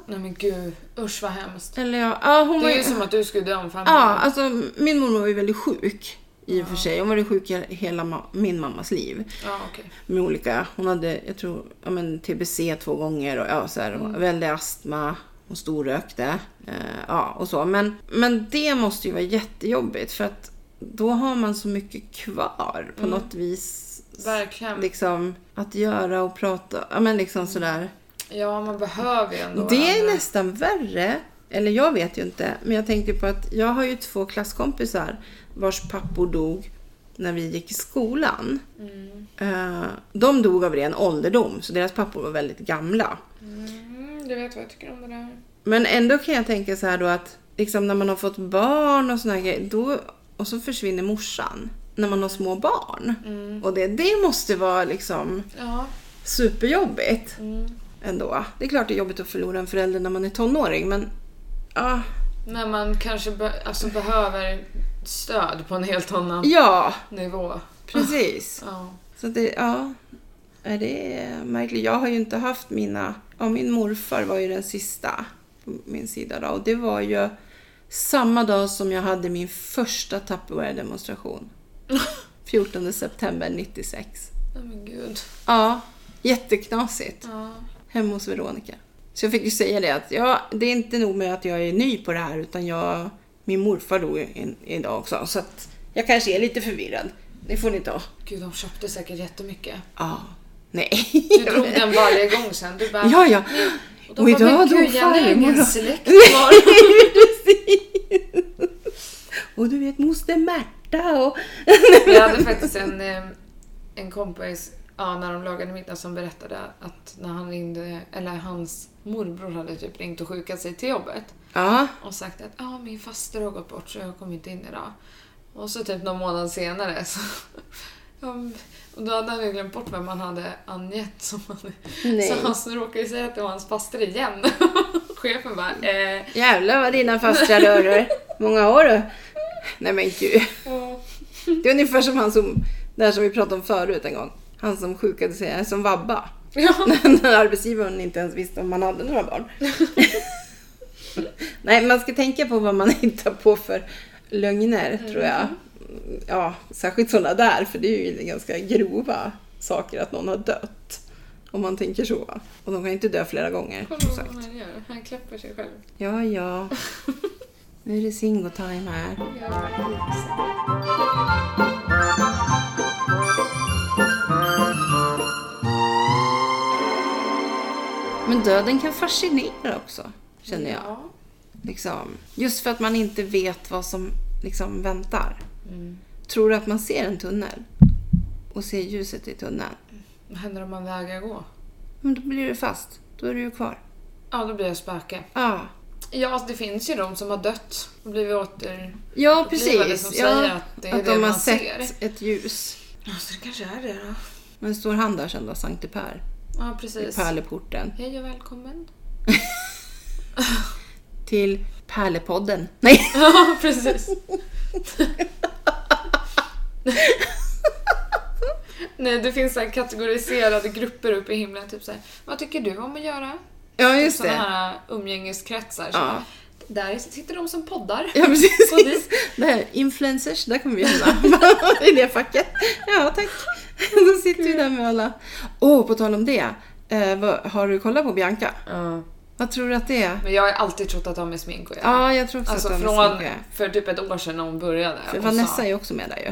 [SPEAKER 1] Nej men gud, usch vad hemskt.
[SPEAKER 2] Eller ja, ja hon
[SPEAKER 1] Det
[SPEAKER 2] var
[SPEAKER 1] är ju som att du skulle dö om fem
[SPEAKER 2] Ja,
[SPEAKER 1] år.
[SPEAKER 2] alltså min mormor var ju väldigt sjuk i och för sig. Hon var ju sjuk i hela ma- min mammas liv.
[SPEAKER 1] Ja, okej.
[SPEAKER 2] med olika, hon hade jag tror, ja, men TBC två gånger och ja, så här,
[SPEAKER 1] Mm.
[SPEAKER 2] väldig astma, hon storrökte eh, ja, och så. Men, men det måste ju vara jättejobbigt för att då har man så mycket kvar på något vis.
[SPEAKER 1] Mm. Verkligen.
[SPEAKER 2] Liksom att göra och prata, ja men liksom sådär.
[SPEAKER 1] Ja, man behöver ju ändå
[SPEAKER 2] Det är
[SPEAKER 1] varandra.
[SPEAKER 2] nästan värre. Eller jag vet ju inte. Men jag tänkte på att jag har ju två klasskompisar vars pappor dog när vi gick i skolan.
[SPEAKER 1] Mm.
[SPEAKER 2] Eh, De dog av ren ålderdom, så deras pappor var väldigt gamla.
[SPEAKER 1] Mm, du vet vad jag tycker om det där.
[SPEAKER 2] Men ändå kan jag tänka så här då att liksom när man har fått barn och såna här grejer, då, och så försvinner morsan när man har små barn. Och det, det måste vara liksom
[SPEAKER 1] Mm. Ja.
[SPEAKER 2] superjobbigt
[SPEAKER 1] Mm.
[SPEAKER 2] ändå. Det är klart det är jobbigt att förlora en förälder när man är tonåring, men ah,
[SPEAKER 1] När man kanske be- alltså, behöver stöd på en helt annan
[SPEAKER 2] Ja,
[SPEAKER 1] nivå.
[SPEAKER 2] precis.
[SPEAKER 1] Ja.
[SPEAKER 2] Så att det, ja. Nej, Det är märkligt. Jag har ju inte haft mina... Ja, min morfar var ju den sista på min sida då. Och det var ju samma dag som jag hade min första Tupperware-demonstration. 14 september 96.
[SPEAKER 1] Nej men gud.
[SPEAKER 2] Ja, jätteknasigt.
[SPEAKER 1] Ja.
[SPEAKER 2] Hemma hos Veronica. Så jag fick ju säga det att ja, det är inte nog med att jag är ny på det här utan jag, min morfar dog i- idag också så att jag kanske är lite förvirrad. det får ni ta.
[SPEAKER 1] Gud, de köpte säkert jättemycket.
[SPEAKER 2] Ja. Nej.
[SPEAKER 1] Du drog den varje gång sen. Du bara...
[SPEAKER 2] Ja, ja.
[SPEAKER 1] Och,
[SPEAKER 2] Och idag drog farmor.
[SPEAKER 1] farmor.
[SPEAKER 2] då. (laughs)
[SPEAKER 1] Släkt var.
[SPEAKER 2] Och du vet moster Märta och...
[SPEAKER 1] Jag hade faktiskt en, eh, en kompis ja, när de lagade middag som berättade att när han ringde, eller hans morbror hade typ ringt och sjukat sig till jobbet
[SPEAKER 2] Ja.
[SPEAKER 1] och sagt att ah, min faster har gått bort så jag kommer inte in idag. Och så typ någon månad senare (laughs) så Ja, men- och då hade han ju glömt bort vem han hade angett. Som han,
[SPEAKER 2] Nej.
[SPEAKER 1] så han så råkade ju säga att det var hans faster igen. (laughs) Chefen bara,
[SPEAKER 2] (laughs)
[SPEAKER 1] eh,
[SPEAKER 2] Jävlar vad dina fastrar rör Många år du. Nej men gud.
[SPEAKER 1] ja.
[SPEAKER 2] Det är ungefär som han som, det här som vi pratade om förut en gång. Han som sjukade sig, som vabba.
[SPEAKER 1] Ja.
[SPEAKER 2] (laughs) När arbetsgivaren inte ens visste om man hade några barn. Nej, man ska tänka på vad man (laughs) hittar på för lögner tror jag. Ja, särskilt sådana där, för det är ju ganska grova saker att någon har dött. Om man tänker så. Och de kan ju inte dö flera gånger.
[SPEAKER 1] Kolla
[SPEAKER 2] som
[SPEAKER 1] vad
[SPEAKER 2] sagt.
[SPEAKER 1] han gör. Han klappar sig själv.
[SPEAKER 2] Ja, ja. Nu är det singotime här. Men döden kan fascinera också, känner jag.
[SPEAKER 1] Ja.
[SPEAKER 2] Liksom, just för att man inte vet vad som liksom väntar.
[SPEAKER 1] Mm.
[SPEAKER 2] Tror du att man ser en tunnel och ser ljuset i tunneln,
[SPEAKER 1] Vad händer om man vägrar gå?
[SPEAKER 2] men då blir du fast. Då är du ju kvar.
[SPEAKER 1] Ja, då blir jag spöke.
[SPEAKER 2] Ja,
[SPEAKER 1] Ja, alltså, det finns ju de som har dött och blivit åter...
[SPEAKER 2] ja
[SPEAKER 1] var det som
[SPEAKER 2] precis.
[SPEAKER 1] säger
[SPEAKER 2] Ja,
[SPEAKER 1] att
[SPEAKER 2] att,
[SPEAKER 1] det är det
[SPEAKER 2] de har
[SPEAKER 1] man
[SPEAKER 2] sett ett ljus.
[SPEAKER 1] Ja, så det kanske är det då.
[SPEAKER 2] Men står han där sen då, Sankte Per?
[SPEAKER 1] Ja,
[SPEAKER 2] I
[SPEAKER 1] precis.
[SPEAKER 2] pärleporten.
[SPEAKER 1] Hej och
[SPEAKER 2] (laughs)
[SPEAKER 1] välkommen.
[SPEAKER 2] Till Pärlepodden. Nej!
[SPEAKER 1] Ja, precis. Nej, det finns så här kategoriserade grupper uppe i himlen. Typ så här, vad tycker du om att göra?
[SPEAKER 2] Ja, just
[SPEAKER 1] Sådana
[SPEAKER 2] det.
[SPEAKER 1] här umgängeskretsar. Så
[SPEAKER 2] Ja.
[SPEAKER 1] bara, Där sitter de som poddar.
[SPEAKER 2] Ja,
[SPEAKER 1] Gå dit.
[SPEAKER 2] precis. Det här, influencers, där kommer vi hamna. (laughs) I det facket. Ja, tack. Då sitter vi där med alla. Åh, på tal om det. Eh, vad, har du kollat på Bianca? Vad tror du att det är?
[SPEAKER 1] Men jag har alltid trott att de är smink och jag.
[SPEAKER 2] Ja, jag tror också
[SPEAKER 1] Alltså
[SPEAKER 2] att
[SPEAKER 1] från
[SPEAKER 2] sminkare.
[SPEAKER 1] för typ ett år sedan när hon började.
[SPEAKER 2] För
[SPEAKER 1] och
[SPEAKER 2] Vanessa
[SPEAKER 1] sa,
[SPEAKER 2] är ju också med där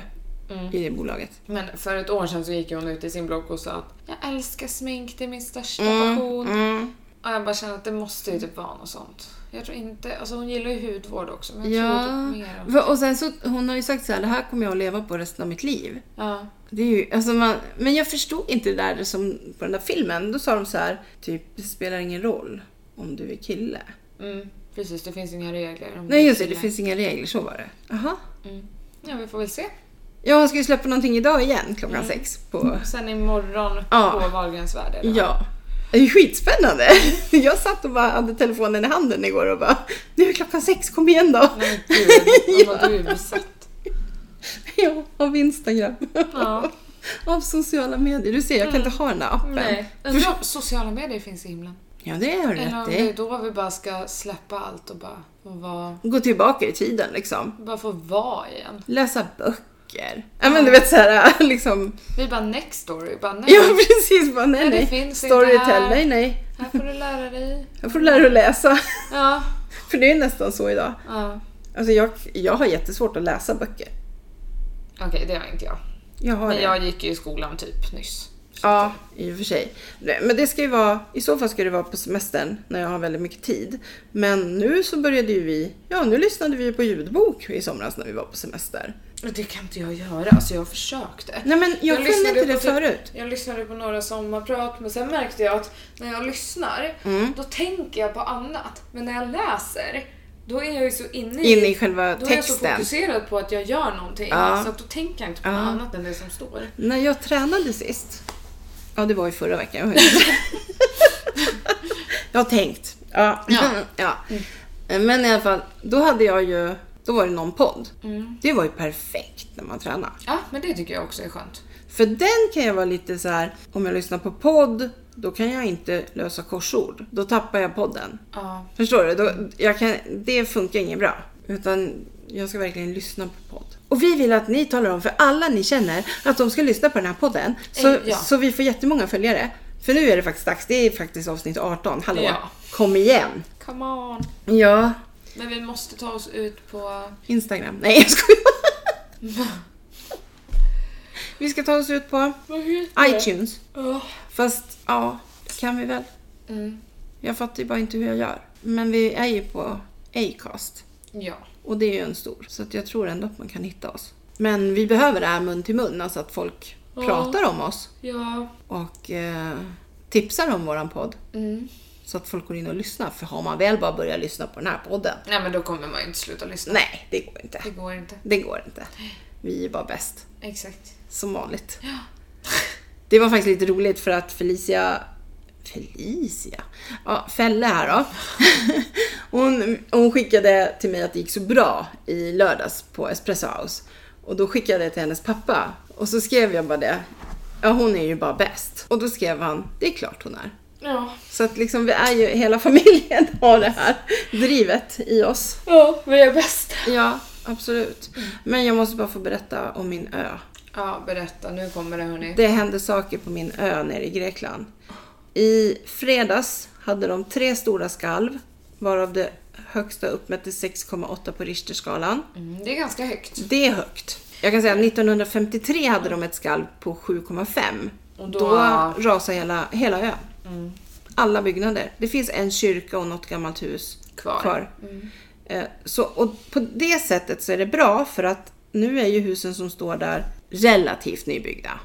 [SPEAKER 2] ju. I det bolaget.
[SPEAKER 1] men för ett år sedan så gick hon ut i sin blogg och sa att jag älskar smink, det är min största passion.
[SPEAKER 2] Mm.
[SPEAKER 1] Och jag bara känner att det måste ju typ vara något sånt. Jag tror inte, alltså hon gillar ju hudvård också men jag
[SPEAKER 2] Ja.
[SPEAKER 1] tror typ mer om...
[SPEAKER 2] Va- Och sen så, hon har ju sagt så här, det här kommer jag att leva på resten av mitt liv.
[SPEAKER 1] Ja.
[SPEAKER 2] Det är ju, alltså man, men jag förstod inte det där som på den där filmen. Då sa de så här, typ, det spelar ingen roll om du är kille.
[SPEAKER 1] Mm, precis, det finns inga regler. Om
[SPEAKER 2] Nej just det, det
[SPEAKER 1] killar.
[SPEAKER 2] finns inga regler, så var det. Aha.
[SPEAKER 1] Mm. Ja, vi får väl se.
[SPEAKER 2] Ja, hon ska ju släppa någonting idag igen klockan sex på...
[SPEAKER 1] Sen imorgon
[SPEAKER 2] Ja.
[SPEAKER 1] på Wahlgrens värld. eller?
[SPEAKER 2] Ja. Det är ju skitspännande! (laughs) Jag satt och bara hade telefonen i handen igår och bara Nu är klockan sex, kom igen då!
[SPEAKER 1] Nej men gud, vad du är besatt.
[SPEAKER 2] (laughs) Ja, av Instagram.
[SPEAKER 1] Ja.
[SPEAKER 2] (laughs)
[SPEAKER 1] Mm.
[SPEAKER 2] Av sociala medier. Du ser, jag kan inte ha den där appen.
[SPEAKER 1] Nej. Undrar om sociala medier finns i himlen.
[SPEAKER 2] Ja, det har du
[SPEAKER 1] Eller om
[SPEAKER 2] rätt
[SPEAKER 1] det är
[SPEAKER 2] i.
[SPEAKER 1] då vi bara ska släppa allt och bara få vara,
[SPEAKER 2] Gå tillbaka i tiden liksom.
[SPEAKER 1] bara få vara igen.
[SPEAKER 2] Läsa böcker. Ja men du vet såhär (laughs) liksom.
[SPEAKER 1] Vi bara next story, bara nej.
[SPEAKER 2] Ja precis, bara nej
[SPEAKER 1] det
[SPEAKER 2] nej.
[SPEAKER 1] finns inte
[SPEAKER 2] Storytel,
[SPEAKER 1] här.
[SPEAKER 2] nej nej.
[SPEAKER 1] Här får du lära dig.
[SPEAKER 2] Jag får lära dig att läsa. (laughs)
[SPEAKER 1] Ja.
[SPEAKER 2] För det är nästan så idag.
[SPEAKER 1] ja.
[SPEAKER 2] Alltså jag, jag har jättesvårt att läsa böcker.
[SPEAKER 1] Okej, det var inte jag.
[SPEAKER 2] Jag har
[SPEAKER 1] Men
[SPEAKER 2] det.
[SPEAKER 1] jag gick ju i skolan typ nyss.
[SPEAKER 2] Ja, i och för sig. Nej, Men det ska ju vara, i så fall ska det vara på semestern när jag har väldigt mycket tid. Men nu så började ju vi, ja nu lyssnade vi på ljudbok i somras när vi var på semester.
[SPEAKER 1] Och Det kan inte jag göra, alltså jag försökte.
[SPEAKER 2] Nej men jag, kunde
[SPEAKER 1] lyssnade
[SPEAKER 2] inte det
[SPEAKER 1] på typ-
[SPEAKER 2] förut.
[SPEAKER 1] Jag lyssnade på några sommarprat men sen märkte jag att när jag lyssnar
[SPEAKER 2] Mm.
[SPEAKER 1] då tänker jag på annat. Men när jag läser då är jag ju så inne i,
[SPEAKER 2] In i själva
[SPEAKER 1] då är jag så
[SPEAKER 2] texten.
[SPEAKER 1] fokuserad på att jag gör någonting
[SPEAKER 2] Ja.
[SPEAKER 1] så att då tänker jag inte på något
[SPEAKER 2] Ja.
[SPEAKER 1] annat än det som står.
[SPEAKER 2] När jag tränade sist, ja det var ju förra veckan. jag har inte- jag har tänkt. Ja.
[SPEAKER 1] Ja.
[SPEAKER 2] ja. Men i alla fall, då hade jag ju, då var det någon podd.
[SPEAKER 1] Mm.
[SPEAKER 2] Det var ju perfekt när man tränar.
[SPEAKER 1] Ja, men det tycker jag också är skönt.
[SPEAKER 2] För den kan jag vara lite så här, om jag lyssnar på podd, då kan jag inte lösa korsord. Då tappar jag podden.
[SPEAKER 1] Ja.
[SPEAKER 2] Förstår du? Då, jag kan, det funkar inget bra. Utan jag ska verkligen lyssna på podd. Och vi vill att ni talar om för alla ni känner att de ska lyssna på den här podden. Så,
[SPEAKER 1] Eh, Ja.
[SPEAKER 2] så vi får jättemånga följare. För nu är det faktiskt dags. Det är faktiskt avsnitt 18. Hallå!
[SPEAKER 1] Ja.
[SPEAKER 2] Kom igen!
[SPEAKER 1] Come on.
[SPEAKER 2] Ja.
[SPEAKER 1] Men vi måste ta oss ut på... (laughs)
[SPEAKER 2] Instagram. Nej jag skojar! vi ska ta oss ut på?
[SPEAKER 1] Vad heter
[SPEAKER 2] iTunes.
[SPEAKER 1] Ja.
[SPEAKER 2] Fast ja, det kan vi väl.
[SPEAKER 1] Mm.
[SPEAKER 2] Jag fattar ju bara inte hur jag gör. Men vi är ju på Acast.
[SPEAKER 1] Ja.
[SPEAKER 2] Och det är ju en stor. Så att jag tror ändå att man kan hitta oss. Men vi behöver det här mun till mun. Alltså att folk
[SPEAKER 1] Ja.
[SPEAKER 2] pratar om oss.
[SPEAKER 1] Ja.
[SPEAKER 2] Och eh, tipsar om våran podd.
[SPEAKER 1] Mm.
[SPEAKER 2] Så att folk går in och lyssnar. För har man väl bara börjat lyssna på den här podden.
[SPEAKER 1] Nej men då kommer man ju inte sluta lyssna.
[SPEAKER 2] Nej, det går inte.
[SPEAKER 1] Det går inte.
[SPEAKER 2] Det går inte. Vi är bara bäst.
[SPEAKER 1] Exakt.
[SPEAKER 2] Som vanligt. (laughs) Det var faktiskt lite roligt för att Felicia Felicia? Ja, Felle här då. (laughs) Hon, hon skickade till mig att det gick så bra i lördags på Espresso House. Och då skickade jag till hennes pappa. Och så skrev jag bara det. Ja, hon är ju bara bäst. Och då skrev han, det är klart hon är.
[SPEAKER 1] Ja.
[SPEAKER 2] Så att liksom vi är ju, hela (laughs) familjen har det här drivet i oss.
[SPEAKER 1] Ja, vi är bäst.
[SPEAKER 2] Ja, absolut. Men jag måste bara få berätta om min ö.
[SPEAKER 1] Ja, berätta. Nu kommer det hörni.
[SPEAKER 2] Det hände saker på min ö nere i Grekland. I fredags hade de tre stora skalv, varav det högsta uppmättes 6,8 på Richterskalan.
[SPEAKER 1] Mm, det är ganska högt.
[SPEAKER 2] Det är högt. Jag kan säga att 1953 hade de ett skalv på 7,5.
[SPEAKER 1] Och
[SPEAKER 2] då...
[SPEAKER 1] då-
[SPEAKER 2] rasade hela, hela ön. Alla byggnader. Det finns en kyrka och något gammalt hus
[SPEAKER 1] Kvar.
[SPEAKER 2] Eh, Så, och på det sättet så är det bra för att nu är ju husen som står där relativt nybyggda.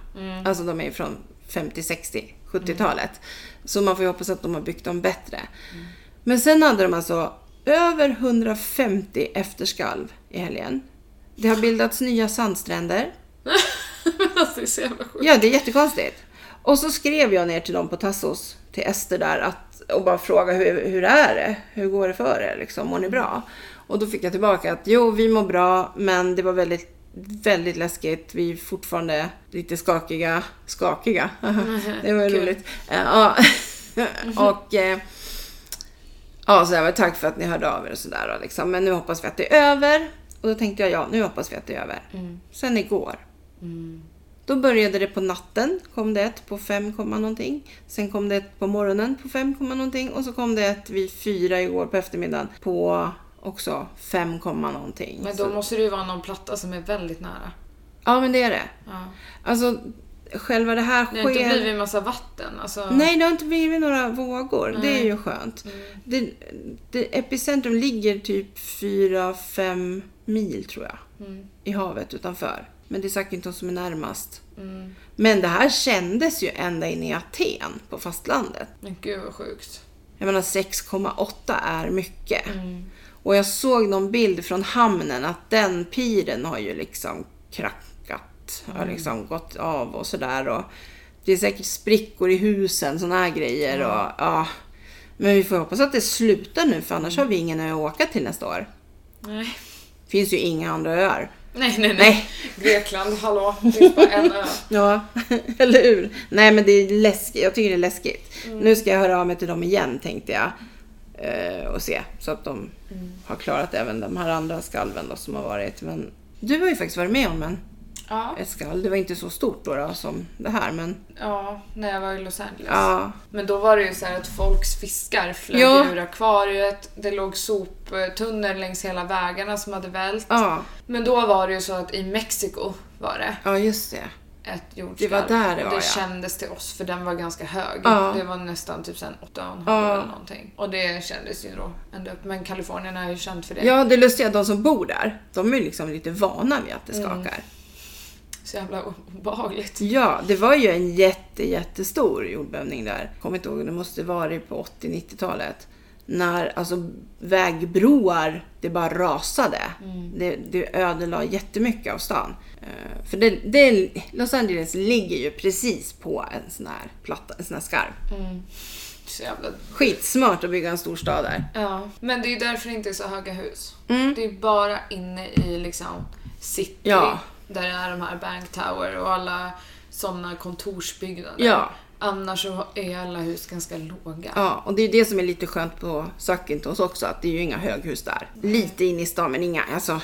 [SPEAKER 2] Alltså de är ju från 50, 60, 70-talet. Så man får ju hoppas att de har byggt dem bättre. Men sen hade de alltså över 150 efterskalv i helgen. Det har bildats nya sandstränder.
[SPEAKER 1] (laughs) alltså, det är så jävla sjukt.
[SPEAKER 2] Ja, det är jättekonstigt. Och så skrev jag ner till dem på Tassos, till Ester där, att, och bara frågade hur, hur är det? Hur går det för er? Liksom, mår ni bra? Och då fick jag tillbaka att jo, vi mår bra, men det var väldigt, väldigt läskigt. Vi är fortfarande lite skakiga. Skakiga? det var ju
[SPEAKER 1] kul.
[SPEAKER 2] roligt. Eh, Ja, och... eh, Ja, så jag var tack för att ni hörde av er och sådär. och Liksom. Men nu hoppas vi att det är över. Och då tänkte jag, ja, nu hoppas vi att det är över.
[SPEAKER 1] Mm,
[SPEAKER 2] Sen igår. Då började det på natten, kom det ett på 5, komma någonting. Sen kom det ett på morgonen på 5, komma någonting. Och så kom det ett vid 4 igår på eftermiddagen på också 5, komma någonting.
[SPEAKER 1] Men då måste det ju vara någon platta som är väldigt nära.
[SPEAKER 2] Ja, men det är det.
[SPEAKER 1] Ja.
[SPEAKER 2] Alltså, själva det här
[SPEAKER 1] Det
[SPEAKER 2] sker...
[SPEAKER 1] har inte blivit en massa vatten. Alltså,
[SPEAKER 2] Nej, det har inte blivit några vågor. Det är ju skönt. Det, det, epicentrum ligger typ 4-5 mil tror jag.
[SPEAKER 1] Mm,
[SPEAKER 2] I havet utanför. Men det är Zakynthos som är närmast.
[SPEAKER 1] mm.
[SPEAKER 2] Men det här kändes ju ända in i Aten på fastlandet.
[SPEAKER 1] Men gud vad sjukt.
[SPEAKER 2] Jag menar 6,8 är mycket.
[SPEAKER 1] Mm.
[SPEAKER 2] Och jag såg någon bild från hamnen att den piren har ju liksom krackat. Har liksom gått av och sådär. Och det är säkert sprickor i husen, sådana här grejer. Och, ja. Men vi får hoppas att det slutar nu för annars har vi ingen ö att åka till nästa år.
[SPEAKER 1] Nej.
[SPEAKER 2] finns ju inga andra öar.
[SPEAKER 1] Nej, nej, nej.
[SPEAKER 2] Nej.
[SPEAKER 1] Grekland, hallå. Det finns bara (laughs) en ö.
[SPEAKER 2] Ja, (laughs) eller hur? Nej men det är läskigt. Jag tycker det är läskigt. Nu ska jag höra av mig till dem igen tänkte jag. Eh, och se så att de har klarat även de här andra skalven då som har varit. Men du har ju faktiskt varit med om en,
[SPEAKER 1] Ja.
[SPEAKER 2] ett skalv. Det var inte så stort då, då som det här men
[SPEAKER 1] ja, när jag var i Los Angeles.
[SPEAKER 2] ja.
[SPEAKER 1] Men då var det ju så här att folks fiskar flög
[SPEAKER 2] Ja.
[SPEAKER 1] ur akvariet. Det låg soptunnor längs hela vägarna som hade vält.
[SPEAKER 2] Ja,
[SPEAKER 1] Men då var det ju så att i Mexiko var det
[SPEAKER 2] ja just det.
[SPEAKER 1] ett
[SPEAKER 2] Det
[SPEAKER 1] jordskalv.
[SPEAKER 2] var där det
[SPEAKER 1] Och
[SPEAKER 2] var, ja.
[SPEAKER 1] det kändes till oss för den var ganska hög.
[SPEAKER 2] Ja.
[SPEAKER 1] Det var nästan typ sen 8,5
[SPEAKER 2] Ja.
[SPEAKER 1] eller någonting. Och det kändes ju då ända upp. Men Kalifornien är ju känt för det.
[SPEAKER 2] Ja det lustiga, de som bor där, de är ju liksom lite vana vid att det skakar.
[SPEAKER 1] Så jävla obehagligt.
[SPEAKER 2] Ja, det var ju en jätte, jättestor jordbävning där. Kommer inte ihåg, det måste varit på 80-90-talet. När alltså vägbroar, det bara rasade. Det, det ödelade jättemycket av stan. Eh, för det, det, Los Angeles ligger ju precis på en sån här platta, en sån här skarv.
[SPEAKER 1] Mm. Så jävla...
[SPEAKER 2] Skitsmart att bygga en stor stad där.
[SPEAKER 1] Ja. Men det är ju därför det inte är så höga hus.
[SPEAKER 2] Mm.
[SPEAKER 1] Det är bara inne i liksom city.
[SPEAKER 2] Ja.
[SPEAKER 1] Där det är de här bank tower och alla sådana kontorsbyggnader.
[SPEAKER 2] Ja.
[SPEAKER 1] Annars så är alla hus ganska låga.
[SPEAKER 2] Ja, och det är det som är lite skönt på Zakynthos också, att det är ju inga höghus där. Lite in i stan, men inga, alltså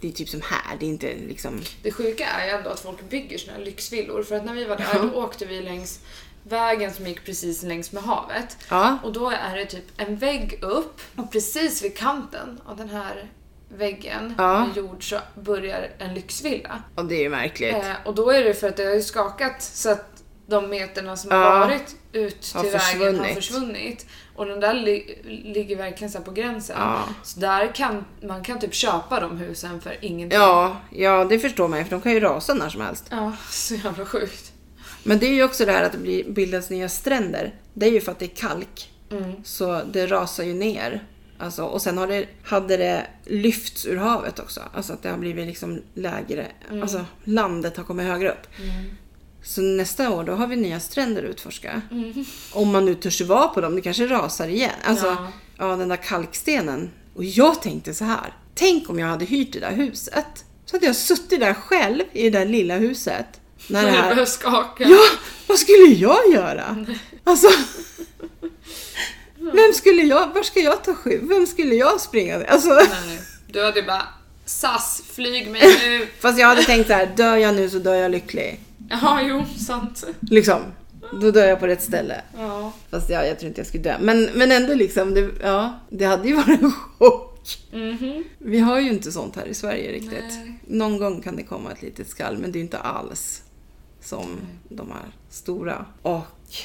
[SPEAKER 2] det är typ som här, det är inte liksom
[SPEAKER 1] Det sjuka är ju ändå att folk bygger sina lyxvillor. För att när vi var där, då åkte vi längs vägen som gick precis längs med havet.
[SPEAKER 2] Ja.
[SPEAKER 1] Och då är det typ en vägg upp och precis vid kanten av den här väggen
[SPEAKER 2] Ja.
[SPEAKER 1] med jord så börjar en lyxvilla.
[SPEAKER 2] Och det är ju märkligt.
[SPEAKER 1] Eh, och då är det för att det har ju skakat så att de meterna som
[SPEAKER 2] Ja.
[SPEAKER 1] har varit ut till
[SPEAKER 2] Har
[SPEAKER 1] vägen har
[SPEAKER 2] försvunnit.
[SPEAKER 1] försvunnit. Och den där li- ligger verkligen så här på gränsen.
[SPEAKER 2] Ja.
[SPEAKER 1] Så där kan man kan typ köpa de husen för ingenting.
[SPEAKER 2] Ja, ja, det förstår man ju för de kan ju rasa när som helst.
[SPEAKER 1] Ja, så jävla sjukt.
[SPEAKER 2] Men det är ju också det här att det blir, bildas nya stränder. Det är ju för att det är kalk. Så det rasar ju ner. Alltså, och sen har det, hade det lyfts ur havet också. Alltså att det har blivit liksom lägre. Alltså landet har kommit högre upp. Så nästa år då har vi nya stränder att utforska. Om man nu törs vara på dem. Det kanske rasar igen. Alltså,
[SPEAKER 1] Ja.
[SPEAKER 2] ja. den där kalkstenen. Och jag tänkte så här. Tänk om jag hade hyrt det där huset. Så hade jag suttit där själv i det där lilla huset. När det
[SPEAKER 1] När det
[SPEAKER 2] här
[SPEAKER 1] börjar skaka.
[SPEAKER 2] Ja, vad skulle jag göra? Alltså, vem skulle jag, var ska jag ta skydd? Vem skulle jag springa till? Alltså,
[SPEAKER 1] Nej, du hade ju bara SAS, flyg mig nu.
[SPEAKER 2] fast jag hade tänkt så här, dör jag nu så dör jag lycklig.
[SPEAKER 1] (laughs) Ja, jo, sant.
[SPEAKER 2] Liksom, då dör jag på rätt ställe.
[SPEAKER 1] Ja.
[SPEAKER 2] Fast ja, jag tror inte jag skulle dö. Men, men ändå liksom, det, ja, det hade ju (laughs) varit en chock.
[SPEAKER 1] Mhm.
[SPEAKER 2] Vi har ju inte sånt här i Sverige riktigt.
[SPEAKER 1] Nej.
[SPEAKER 2] Någon gång kan det komma ett litet skall, men det är ju inte alls som de här stora. Och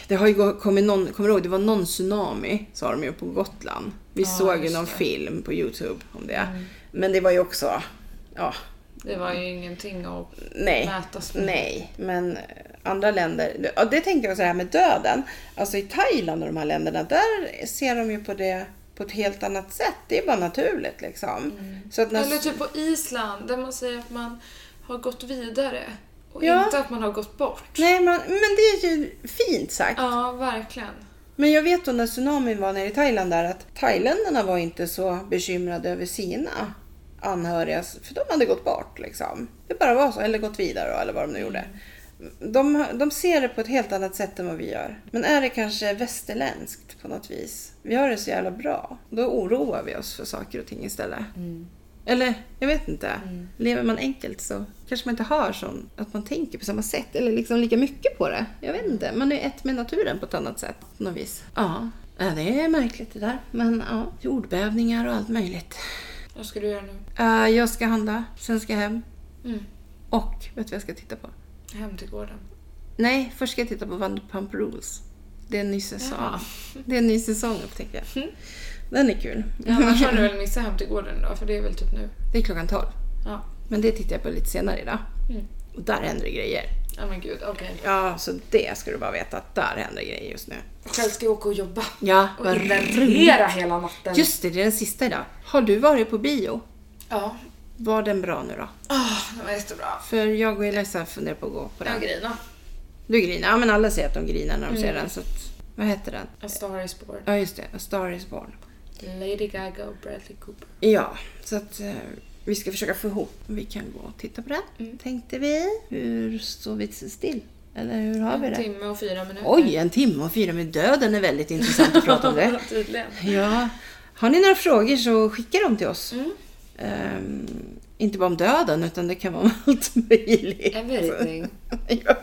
[SPEAKER 2] det har ju gå- kommit någon, kommer du ihåg, det var någon tsunami sa de ju på Gotland. Vi
[SPEAKER 1] Ja,
[SPEAKER 2] såg ju
[SPEAKER 1] just
[SPEAKER 2] någon
[SPEAKER 1] det. Mm.
[SPEAKER 2] film på Youtube om det. Men det var ju också, ja,
[SPEAKER 1] Det var ju ingenting att
[SPEAKER 2] nej.
[SPEAKER 1] mätas med.
[SPEAKER 2] Nej, men andra länder. Ja, det tänkte jag så här med döden. Alltså i Thailand och de här länderna, där ser de ju på det på ett helt annat sätt. Det är bara naturligt liksom. Så att när...
[SPEAKER 1] Eller typ på Island där man säger att man har gått vidare och
[SPEAKER 2] Ja.
[SPEAKER 1] inte att man har gått bort.
[SPEAKER 2] Nej, men, men det är ju fint sagt.
[SPEAKER 1] Ja, verkligen.
[SPEAKER 2] Men jag vet då när tsunamin var nere i Thailand där att thailändarna var inte så bekymrade över sina anhöriga för de hade gått bort liksom. Det bara var så, eller gått vidare då, eller vad de nu gjorde. De, de ser det på ett helt annat sätt än vad vi gör. Men är det kanske västerländskt på något vis? Vi har det så jävla bra. Då oroar vi oss för saker och ting istället. Eller, jag vet inte. Lever man enkelt så kanske man inte har sån, att man tänker på samma sätt eller liksom lika mycket på det. Jag vet inte. Man är ett med naturen på ett annat sätt på något vis. Ja, Ja, det är märkligt det där. Men ja, jordbävningar och allt möjligt.
[SPEAKER 1] Vad ska du göra nu?
[SPEAKER 2] Eh, jag ska handla, sen ska jag hem
[SPEAKER 1] Mm.
[SPEAKER 2] och vet du vad jag ska titta på?
[SPEAKER 1] Hem till
[SPEAKER 2] (laughs)
[SPEAKER 1] gården.
[SPEAKER 2] Nej, först ska jag titta på Vanderpump Rules. Det är en ny säsong.
[SPEAKER 1] Jaha.
[SPEAKER 2] Det är en ny säsong upptäckte jag. Den är kul.
[SPEAKER 1] Ja, annars har du väl missat hem till gården då, för det är väl typ nu.
[SPEAKER 2] (laughs) Det är klockan 12.
[SPEAKER 1] Ja,
[SPEAKER 2] Men det tittar jag på lite senare idag.
[SPEAKER 1] Mm.
[SPEAKER 2] Och där händer det grejer.
[SPEAKER 1] ja men gud, okej.
[SPEAKER 2] Ja, så det ska du bara veta att där händer grejer just nu.
[SPEAKER 1] Själv ska jag åka och jobba.
[SPEAKER 2] Ja,
[SPEAKER 1] Och
[SPEAKER 2] vad
[SPEAKER 1] inventera hela natten.
[SPEAKER 2] Just det, det är den sista idag. Har du varit på bio?
[SPEAKER 1] Ja.
[SPEAKER 2] Var den bra nu då?
[SPEAKER 1] Oh, det var jättebra.
[SPEAKER 2] För jag och Elisa funderar på att gå på
[SPEAKER 1] Jag
[SPEAKER 2] den.
[SPEAKER 1] grinar.
[SPEAKER 2] Du grinar? Ja, men alla säger att de grinar när de ser den. Så att, vad heter den?
[SPEAKER 1] A Star Is Born.
[SPEAKER 2] Ja, just det. A Star Is Born.
[SPEAKER 1] Lady Gaga och Bradley Cooper.
[SPEAKER 2] Ja, så att eh, vi ska försöka få ihop. Vi kan gå och titta på den, tänkte vi. Hur står vi still? Eller hur har vi
[SPEAKER 1] En
[SPEAKER 2] det?
[SPEAKER 1] timme och fyra minuter.
[SPEAKER 2] Oj, en timme och fyra med döden är väldigt intressant att prata
[SPEAKER 1] (laughs)
[SPEAKER 2] om det.
[SPEAKER 1] Tydligen.
[SPEAKER 2] Ja, har ni några frågor så skicka dem till oss.
[SPEAKER 1] Mm.
[SPEAKER 2] Ehm, inte bara om döden utan det kan vara om (laughs) allt möjligt.
[SPEAKER 1] Everything.
[SPEAKER 2] (laughs) ja.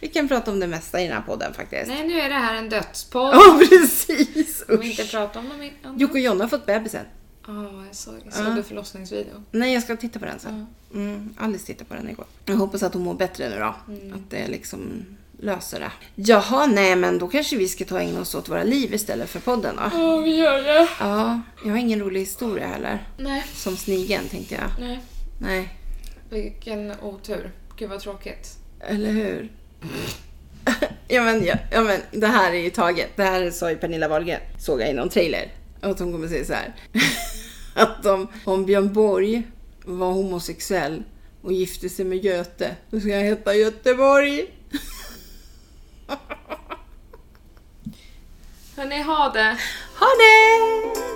[SPEAKER 2] Vi kan prata om det mesta i den här podden faktiskt.
[SPEAKER 1] Nej, nu är det här en dödspodd.
[SPEAKER 2] Ja, (laughs) precis!
[SPEAKER 1] Om vi
[SPEAKER 2] Oh, Usch.
[SPEAKER 1] inte pratar om dem innan.
[SPEAKER 2] Jocke Ah. och Jonna har fått bebisen.
[SPEAKER 1] Ja, jag såg, såg du förlossningsvideon?
[SPEAKER 2] Nej, jag ska titta på den sen. Mm, Alice tittade på den igår. Jag hoppas att hon mår bättre nu då.
[SPEAKER 1] Mm.
[SPEAKER 2] Att det liksom löser det. Jaha, nej men då kanske vi ska ta och ägna oss åt våra liv istället för podden då.
[SPEAKER 1] Ja, vi gör det.
[SPEAKER 2] Ja, jag har ingen rolig historia heller.
[SPEAKER 1] Nej,
[SPEAKER 2] Som snigeln tänkte jag.
[SPEAKER 1] nej.
[SPEAKER 2] Nej,
[SPEAKER 1] Vilken otur. Gud vad tråkigt.
[SPEAKER 2] Eller hur? ja, men, ja, ja men det här är ju taget. Det här sa ju Pernilla Wahlgren, såg jag i någon trailer. Att hon kommer säga så här. (laughs) att om, om Björn Borg var homosexuell och gifte sig med Göte, då ska jag heta Göteborg.
[SPEAKER 1] Hörni, ha det.
[SPEAKER 2] Ha det!